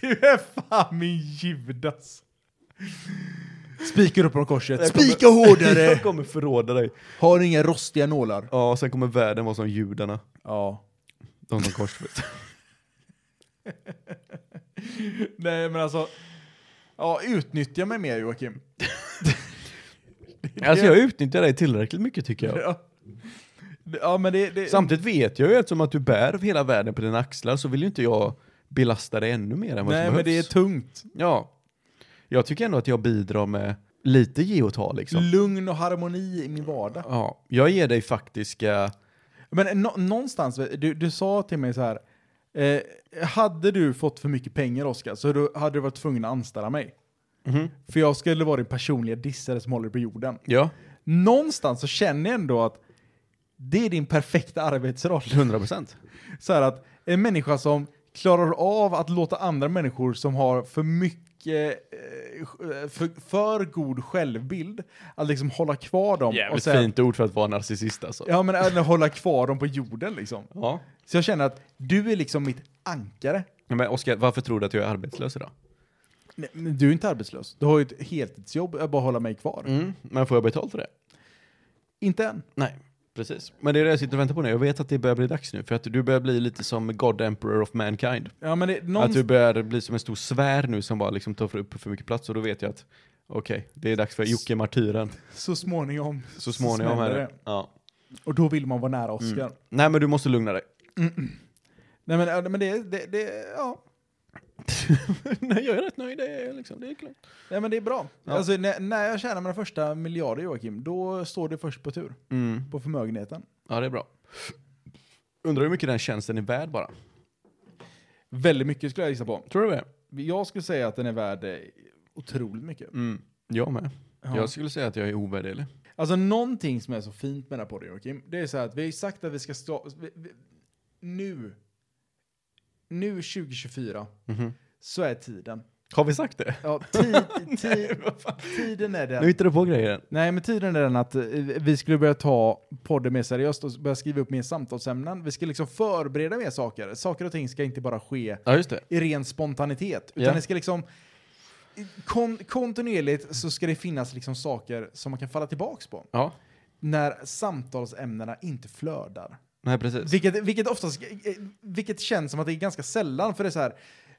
Speaker 3: Du är fan min Judas. Spikar upp på korset.
Speaker 4: Spika *laughs*
Speaker 3: *laughs*
Speaker 4: Jag kommer förråda dig.
Speaker 3: Har inga rostiga nålar.
Speaker 4: Ja, sen kommer världen vara som judarna.
Speaker 3: Ja.
Speaker 4: De som korsfäst.
Speaker 3: Nej men alltså. Ja, utnyttja mig mer Joakim.
Speaker 4: *laughs* alltså jag utnyttjar dig tillräckligt mycket tycker jag.
Speaker 3: Ja, ja men det... det
Speaker 4: Samtidigt vet jag ju eftersom att du bär hela världen på dina axlar så vill ju inte jag belasta dig ännu mer än vad
Speaker 3: nej
Speaker 4: som
Speaker 3: men det är
Speaker 4: behövs.
Speaker 3: tungt.
Speaker 4: ja. Jag tycker ändå att jag bidrar med lite ge och ta liksom.
Speaker 3: Lugn och harmoni i min vardag.
Speaker 4: Ja, jag ger dig faktiska...
Speaker 3: Men nå- någonstans, du, du sa till mig så här. Eh, hade du fått för mycket pengar Oskar så då hade du varit tvungen att anställa mig. För jag skulle vara din personliga dissare som håller på jorden.
Speaker 4: Ja,
Speaker 3: någonstans så känner jag ändå att det är din perfekta arbetsroll.
Speaker 4: 100 procent.
Speaker 3: Så här att en människa som klarar av att låta andra människor som har för mycket, eh, för, för god självbild, att liksom hålla kvar
Speaker 4: *laughs*
Speaker 3: dem.
Speaker 4: Jävligt
Speaker 3: säga-
Speaker 4: fint ord för att vara narcissist alltså.
Speaker 3: Ja men eller hålla kvar dem på jorden liksom.
Speaker 4: Ja.
Speaker 3: Så jag känner att du är liksom mitt ankare.
Speaker 4: Men Oskar, varför tror du att jag är arbetslös idag?
Speaker 3: Nej, men Du är inte arbetslös. Du har ju ett heltidsjobb, jag bara hålla mig kvar.
Speaker 4: Mm. Men får jag betalt för det?
Speaker 3: Mm. Inte än.
Speaker 4: Nej, precis. Men det är det jag sitter och väntar på nu. Jag vet att det börjar bli dags nu, för att du börjar bli lite som God Emperor of Mankind.
Speaker 3: Ja men det,
Speaker 4: Att du
Speaker 3: någonstans,
Speaker 4: börjar bli som en stor svär nu som bara liksom tar för upp för mycket plats och då vet jag att Okej, det är dags för Jocke Martyren
Speaker 3: Så småningom.
Speaker 4: så småningom.
Speaker 3: smäller
Speaker 4: Här.
Speaker 3: det.
Speaker 4: Ja. Mm.
Speaker 3: Och då vill man vara nära Oscar.
Speaker 4: Nej, men du måste lugna dig. *laughs*
Speaker 3: Nej men, ja, men det, det, det, ja.
Speaker 4: Nej, jag är rätt nöjd. Det är, liksom, det är klart.
Speaker 3: Nej men det är bra.
Speaker 4: Ja.
Speaker 3: Alltså, när, när jag tjänar mina första miljarder Joakim, då står det först på tur.
Speaker 4: Mm.
Speaker 3: På förmögenheten.
Speaker 4: Ja, det är bra. Undrar hur mycket den tjänsten är värd bara.
Speaker 3: Väldigt mycket skulle jag gissa på.
Speaker 4: Tror du det?
Speaker 3: Jag skulle säga att den är värd eh, otroligt mycket.
Speaker 4: Mm. Jag med.
Speaker 3: Ja.
Speaker 4: Jag skulle säga att jag är ovärderlig.
Speaker 3: Alltså någonting som är så fint med den här podden Joakim, det är så här att vi har ju sagt att vi ska stå... Vi, vi, nu, nu 2024,
Speaker 4: Mhm.
Speaker 3: så är tiden.
Speaker 4: Har vi sagt det?
Speaker 3: Ja, *laughs* tid, tid, tiden
Speaker 4: Nu
Speaker 3: är den.
Speaker 4: hittar du på grejer.
Speaker 3: Nej, men tiden är den att eh, vi skulle börja ta podden mer seriöst och börja skriva upp mer samtalsämnen. Vi ska liksom förbereda mer saker. Saker och ting ska inte bara ske
Speaker 4: Ja, just det.
Speaker 3: i ren spontanitet. Utan
Speaker 4: Ja.
Speaker 3: det ska liksom... Kon kontinuerligt så ska det finnas liksom saker som man kan falla tillbaks på.
Speaker 4: Ja,
Speaker 3: När samtalsämnena inte flödar.
Speaker 4: nej precis.
Speaker 3: Vilket, vilket, oftast, eh, vilket känns som att det är ganska sällan. För det är så här,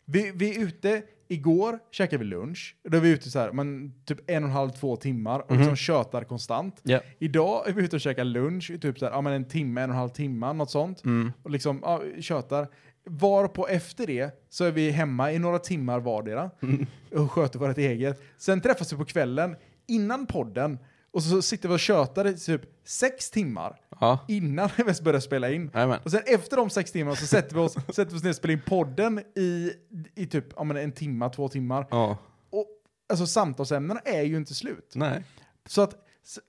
Speaker 3: vi, vi är ute, igår käkade vi lunch. Då är vi ute så här, men typ en och en halv, två timmar och liksom tjötar konstant.
Speaker 4: Mhm. Ja.
Speaker 3: Idag är vi ute och käkar lunch i typ så här, ja, men en timme, en och en halv timme, något sånt.
Speaker 4: Mm.
Speaker 3: Och liksom ja, tjötar. Var på efter det så är vi hemma i några timmar vardera
Speaker 4: Mm.
Speaker 3: och sköter vårt eget. Sen träffas vi på kvällen innan podden och så sitter vi och tjötar i typ sex timmar
Speaker 4: Ja.
Speaker 3: innan *laughs* vi ens börjar spela in.
Speaker 4: Jajamän.
Speaker 3: Och sen efter de sex timmarna så sätter vi oss, *laughs* sätter vi oss ner och spelar in podden i, i typ ja, men en timma, två timmar.
Speaker 4: Ja.
Speaker 3: Och alltså samtalsämnena är ju inte slut.
Speaker 4: Nej.
Speaker 3: Så att s-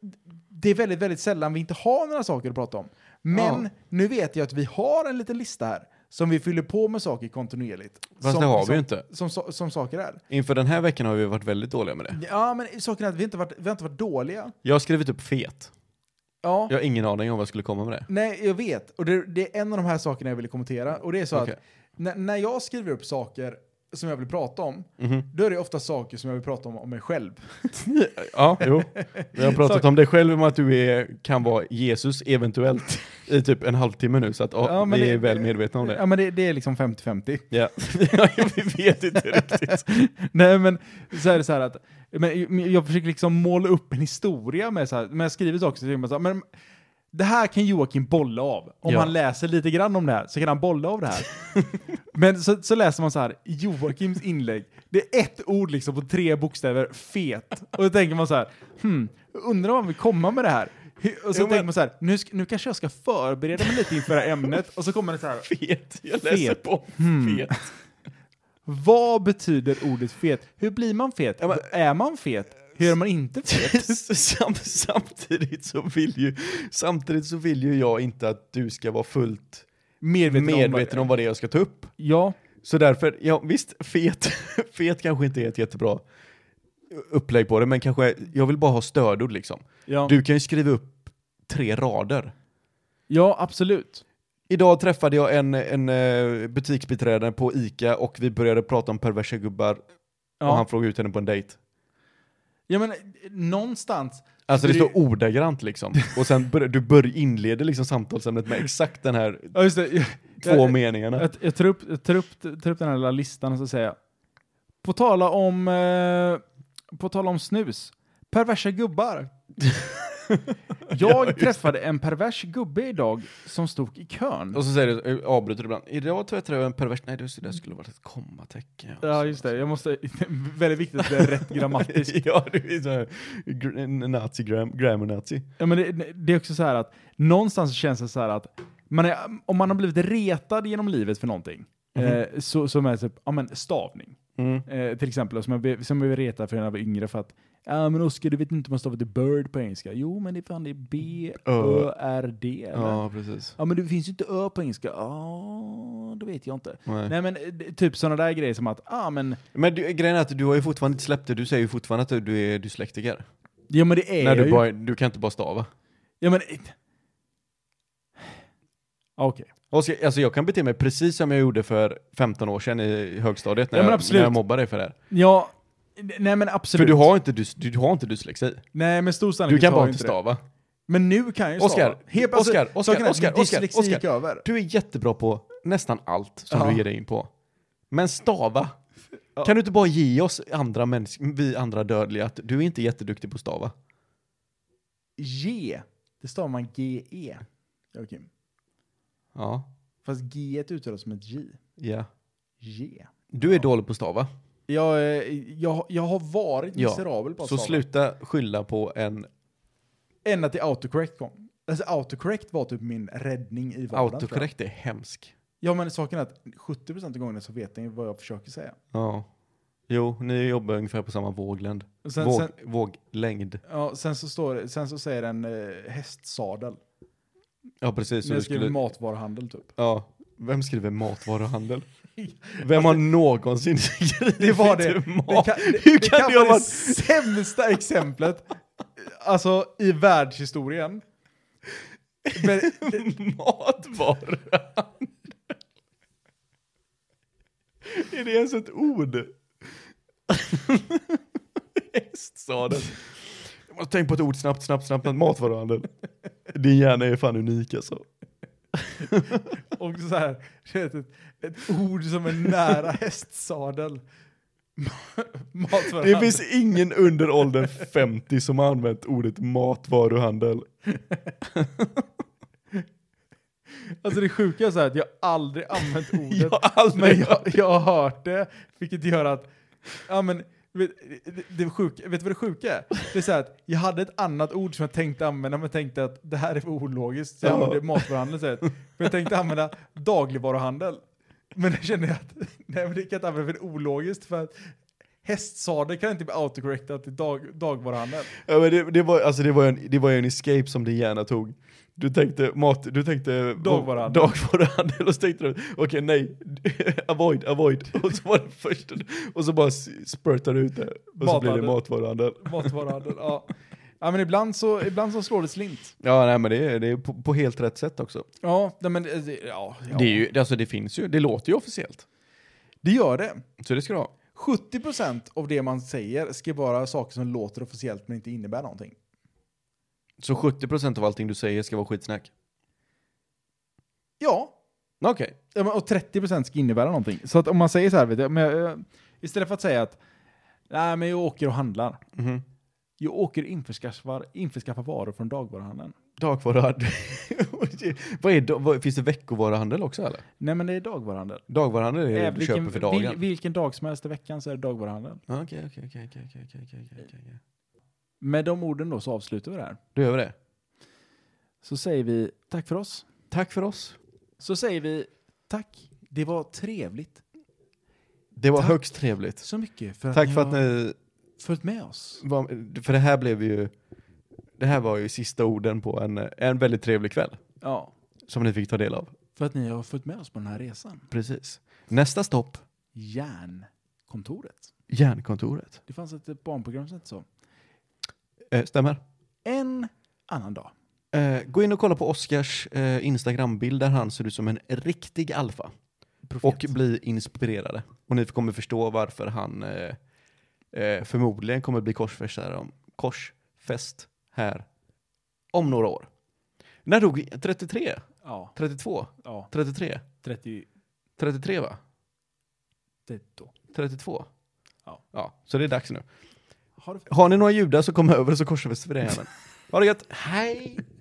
Speaker 3: det är väldigt, väldigt sällan vi inte har några saker att prata om. Men
Speaker 4: Ja.
Speaker 3: nu vet jag att vi har en liten lista här som vi fyller på med saker kontinuerligt.
Speaker 4: Fast
Speaker 3: som,
Speaker 4: det har vi
Speaker 3: som,
Speaker 4: ju inte.
Speaker 3: Som, som, som saker är.
Speaker 4: Inför den här veckan har vi varit väldigt dåliga med det.
Speaker 3: Ja, men saken är att vi inte varit, vi har inte varit dåliga.
Speaker 4: Jag har skrivit upp fet.
Speaker 3: Ja.
Speaker 4: Jag har ingen aning om vad jag skulle komma med det.
Speaker 3: Nej, jag vet. Och det, det är en av de här sakerna jag ville kommentera. Och det är så
Speaker 4: Okej.
Speaker 3: att när, när jag skriver upp saker som jag vill prata om, då är det ofta saker som jag vill prata om om mig själv.
Speaker 4: Mhm. Ja, jo. Vi *laughs* har pratat om dig själv om att du är, kan vara Jesus eventuellt i typ en halvtimme nu så att ja,
Speaker 3: Ja, men
Speaker 4: vi
Speaker 3: det-
Speaker 4: är väl medvetna om det.
Speaker 3: Ja, men det, det är liksom 50-50.
Speaker 4: Ja, vi vet inte riktigt.
Speaker 3: *laughs* Nej, men så är det så här att men jag försöker liksom måla upp en historia med så här, men jag skriver saker så tänker man så här, men det här kan Joakim bolla av. Om
Speaker 4: Ja.
Speaker 3: han läser lite grann om det här så kan han bolla av
Speaker 4: *laughs*
Speaker 3: det här. men så, så läser man så här, Joakims inlägg, det är ett ord liksom på tre bokstäver, fet. Och då tänker man så här, hmm, undrar vad han vill komma med det här. Hur- Och så
Speaker 4: Jo, men-
Speaker 3: tänker man så här, nu, ska, nu kanske jag ska förbereda mig lite inför det här ämnet. Och så kommer det så här,
Speaker 4: Fet. Hmm. Jag läser
Speaker 3: Fet.
Speaker 4: på. Fet.
Speaker 3: vad betyder ordet fet? Hur blir man fet?
Speaker 4: Ja, men-
Speaker 3: är man fet? Hur är man inte
Speaker 4: *laughs*
Speaker 3: fet?
Speaker 4: Sam, samtidigt, så vill ju, samtidigt så vill ju jag inte att du ska vara fullt
Speaker 3: Medveten,
Speaker 4: medveten
Speaker 3: om...
Speaker 4: om vad det är jag ska ta upp.
Speaker 3: Ja,
Speaker 4: Så därför, ja visst, fet, *laughs* fet kanske inte är ett jättebra upplägg på det, men kanske, jag vill bara ha stödord liksom.
Speaker 3: ja.
Speaker 4: Du kan ju skriva upp tre rader.
Speaker 3: ja, absolut.
Speaker 4: Idag träffade jag en, en eh, butiksbiträde på ICA och vi började prata om perversa gubbar och han
Speaker 3: Ja.
Speaker 4: frågade ut henne på en dejt.
Speaker 3: ja, men eh, någonstans...
Speaker 4: Alltså det
Speaker 3: Det-
Speaker 4: står ordagrant liksom. Och sen bör, du bör, inleder liksom samtalsämnet med exakt den här
Speaker 3: Ja, just det. Jag,
Speaker 4: två
Speaker 3: jag,
Speaker 4: meningarna.
Speaker 3: jag, jag, tar upp, jag tar, upp, tar upp den här lilla listan och så säger jag. På tala om, eh, på tala om snus.
Speaker 4: *laughs*
Speaker 3: Perversa gubbar. Jag träffade en pervers gubbe idag som stod i kön.
Speaker 4: Och så säger du, eh, avbryter du ibland, idag tvättade jag en pervers, nej just det, det skulle varit ett kommatecken.
Speaker 3: Ja, just det. Jag måste, *laughs* väldigt viktigt att det är rätt
Speaker 4: *laughs*
Speaker 3: grammatiskt.
Speaker 4: ja, du är så här, gr- en nazi, gram, grammar-nazi.
Speaker 3: Ja, men det, det är också så här att någonstans känns det så här att man är, om man har blivit retad genom livet för någonting,
Speaker 4: Mhm.
Speaker 3: eh, så, som är typ, ja, men stavning
Speaker 4: Mm.
Speaker 3: eh, till exempel, som jag, blev- som jag blev retad för när jag var yngre för att ja men Oskar, du vet inte hur man stavar till bird på engelska. Jo, men det är fan det är B-Ö-R-D. eller?
Speaker 4: Ja, precis.
Speaker 3: Ja, men det finns ju inte ö på engelska. Ja, det vet jag inte.
Speaker 4: Nej.
Speaker 3: Nej, men eh, det- typ sådana där grejer som att, ja men,
Speaker 4: Men du, grejen är att du har ju fortfarande inte släppt det, du säger ju fortfarande att du- du är dyslektiker.
Speaker 3: ja men det
Speaker 4: Nej,
Speaker 3: är jag
Speaker 4: du,
Speaker 3: ju.
Speaker 4: bara, du kan inte bara stava.
Speaker 3: Ja men... eh, Okej.
Speaker 4: Oskar, alltså jag kan bete mig precis som jag gjorde för 15 år sedan i högstadiet när,
Speaker 3: Ja, men
Speaker 4: jag, när
Speaker 3: absolut.
Speaker 4: jag mobbade dig för det här.
Speaker 3: Ja, n- nej men
Speaker 4: För
Speaker 3: absolut.
Speaker 4: du har inte, dys, du, har inte dyslexi.
Speaker 3: Nej, men stor
Speaker 4: Du
Speaker 3: sannolikhet
Speaker 4: kan
Speaker 3: har
Speaker 4: bara
Speaker 3: jag
Speaker 4: inte
Speaker 3: det.
Speaker 4: stava.
Speaker 3: Men nu kan jag ju
Speaker 4: Oscar,
Speaker 3: stava. Helt- alltså,
Speaker 4: Oscar, Oscar,
Speaker 3: saken är att
Speaker 4: Oscar,
Speaker 3: min
Speaker 4: Oscar,
Speaker 3: dyslexi gick
Speaker 4: Oscar.
Speaker 3: över.
Speaker 4: Du är jättebra på nästan allt som
Speaker 3: Ja.
Speaker 4: du ger dig in på. Men stava, Ja. Kan du inte bara ge oss andra människor, vi andra dödliga, att du är inte jätteduktig på att stava?
Speaker 1: G. Det stavar man GE. Joakim.
Speaker 4: Ja.
Speaker 1: Fast G uttalas som ett J.
Speaker 4: ja.
Speaker 1: G.
Speaker 4: Du är dålig på att stava.
Speaker 1: Jag, eh, jag, jag har varit
Speaker 4: Ja,
Speaker 1: miserabel på att
Speaker 4: Så
Speaker 1: stava.
Speaker 4: sluta skylla på en
Speaker 1: Ända till autocorrect kom. Alltså autocorrect var typ min räddning i vardagen. tror jag.
Speaker 4: autokorrekt, det är hemsk.
Speaker 1: Ja men saken är att 70% av gångerna så vet jag vad jag försöker säga.
Speaker 4: Ja. Jo, ni jobbar ungefär på samma våglängd.
Speaker 1: Och sen,
Speaker 4: Våg,
Speaker 1: sen,
Speaker 4: Våglängd.
Speaker 1: ja, sen, så står, det- sen så säger den eh, hästsadel.
Speaker 4: Ja, precis.
Speaker 1: När
Speaker 4: Så du
Speaker 1: jag skriver
Speaker 4: skulle,
Speaker 1: matvaruhandel typ.
Speaker 4: ja. Vem
Speaker 1: *laughs*
Speaker 4: skriver matvaruhandel? Vem har någonsin *laughs* skrivit
Speaker 1: Det var det.
Speaker 4: mat?
Speaker 1: Det, kan, det,
Speaker 4: Hur
Speaker 1: det
Speaker 4: kan
Speaker 1: kanske
Speaker 4: det
Speaker 1: är
Speaker 4: ha
Speaker 1: det
Speaker 4: varit-
Speaker 1: sämsta exemplet alltså, i världshistorien. Men
Speaker 4: *laughs* Matvaruhandel. Är det ens ett ord? *laughs* Hästsadel. Jag måste tänka på ett ord snabbt, snabbt, snabbt. snabbt. Matvaruhandel. Din hjärna är fan unik alltså.
Speaker 1: och så här, du vet, ett, ett ord som är
Speaker 4: *laughs*
Speaker 1: nära hästsadel. matvaruhandel.
Speaker 4: Det finns ingen under åldern 50 som har använt ordet matvaruhandel.
Speaker 1: Alltså det sjuka är så här att jag aldrig använt ordet.
Speaker 4: Jag har aldrig
Speaker 1: Men jag, jag har hört det, vilket gör att... Ja, men, vet, det, det sjuka, vet du vad det sjuka är? Det är så här att jag hade ett annat ord som jag tänkte använda, men jag tänkte att det här är för ologiskt. Så jag
Speaker 4: Ja.
Speaker 1: använde matvaruhandel istället. Men jag tänkte använda dagligvaruhandel. Men det kände jag att nej, men det kan jag inte använda för det är ologiskt. För att hästsadel kan inte bli autocorrectat till dag, dagvaruhandel.
Speaker 4: Ja, men det, det, var, alltså det, var ju en, det var ju en escape som din hjärna tog. Du tänkte mat, du tänkte
Speaker 1: Dagvaruhandel.
Speaker 4: dagvaruhandel *laughs* och så tänkte du okej nej, *laughs* avoid, avoid. Och så var det först och så bara s- spurtade du ut det och så blev det
Speaker 1: Mathandel.
Speaker 4: matvaruhandel.
Speaker 1: Matvaruhandel, ja. Ja, men ibland så, ibland så slår det slint.
Speaker 4: Ja nej men det, är- det är på, på helt rätt sätt också.
Speaker 1: Ja, nej, men... eh, det- Ja, ja.
Speaker 4: Det, är ju, det- alltså, det finns ju, det låter ju officiellt.
Speaker 1: det gör det.
Speaker 4: Så det ska du ha.
Speaker 1: 70% av det man säger ska vara saker som låter officiellt men inte innebär någonting.
Speaker 4: Så 70% av allting du säger ska vara skitsnack?
Speaker 1: Ja,
Speaker 4: Okej.
Speaker 1: ja, men- och 30% ska innebära någonting. Så att om man säger så här, vet *laughs* jag, men jag, eh, istället för att säga att nej men jag åker och handlar.
Speaker 4: Mhm.
Speaker 1: Jag åker och införskaffar, införskaffar varor från dagvaruhandeln.
Speaker 4: Dagvaruhandel. *laughs* vad är, dag- vad, finns det veckovaruhandel också eller?
Speaker 1: Nej men det är dagvaruhandel.
Speaker 4: Dagvaruhandel är det
Speaker 1: Eh,
Speaker 4: du köper för dagen.
Speaker 1: vil- vilken dag som helst i veckan så är det dagvaruhandeln.
Speaker 4: Ja, Okej, okej, okej, okej, okej, okej, okej, okej, okej, okej.
Speaker 1: Med de orden då så avslutar vi det här.
Speaker 4: Då gör vi det.
Speaker 1: Så säger vi tack för oss.
Speaker 4: Tack för oss.
Speaker 1: Så säger vi tack. Det var trevligt.
Speaker 4: Det var
Speaker 1: Tack.
Speaker 4: högst trevligt.
Speaker 1: Så mycket för att
Speaker 4: Tack
Speaker 1: ni
Speaker 4: för
Speaker 1: har
Speaker 4: att ni
Speaker 1: följt med oss.
Speaker 4: var, för det här blev ju, det här var ju sista orden på en, en väldigt trevlig kväll
Speaker 1: Ja.
Speaker 4: som ni fick ta del av.
Speaker 1: För att ni har följt med oss på den här resan.
Speaker 4: Precis. Nästa stopp,
Speaker 1: Järnkontoret.
Speaker 4: Järnkontoret.
Speaker 1: Det fanns ett barnprogram som hette så.
Speaker 4: Eh, stämmer.
Speaker 1: En annan dag.
Speaker 4: Eh, gå in och kolla på Oscars eh, Instagram-bild där han ser ut som en riktig alfa. Och bli inspirerade. Och ni kommer förstå varför han eh, eh, förmodligen kommer bli korsfäst här, om, korsfäst här om några år. När dog 33?
Speaker 1: Ja,
Speaker 4: 32?
Speaker 1: ja.
Speaker 4: 33?
Speaker 1: 30,
Speaker 4: 33 va?
Speaker 1: 30.
Speaker 4: 32?
Speaker 1: Ja.
Speaker 4: ja. Så det är dags nu.
Speaker 1: Har du
Speaker 4: Har ni några judar så kom över och så korsfäster vi det här. Ha det gött. Hej!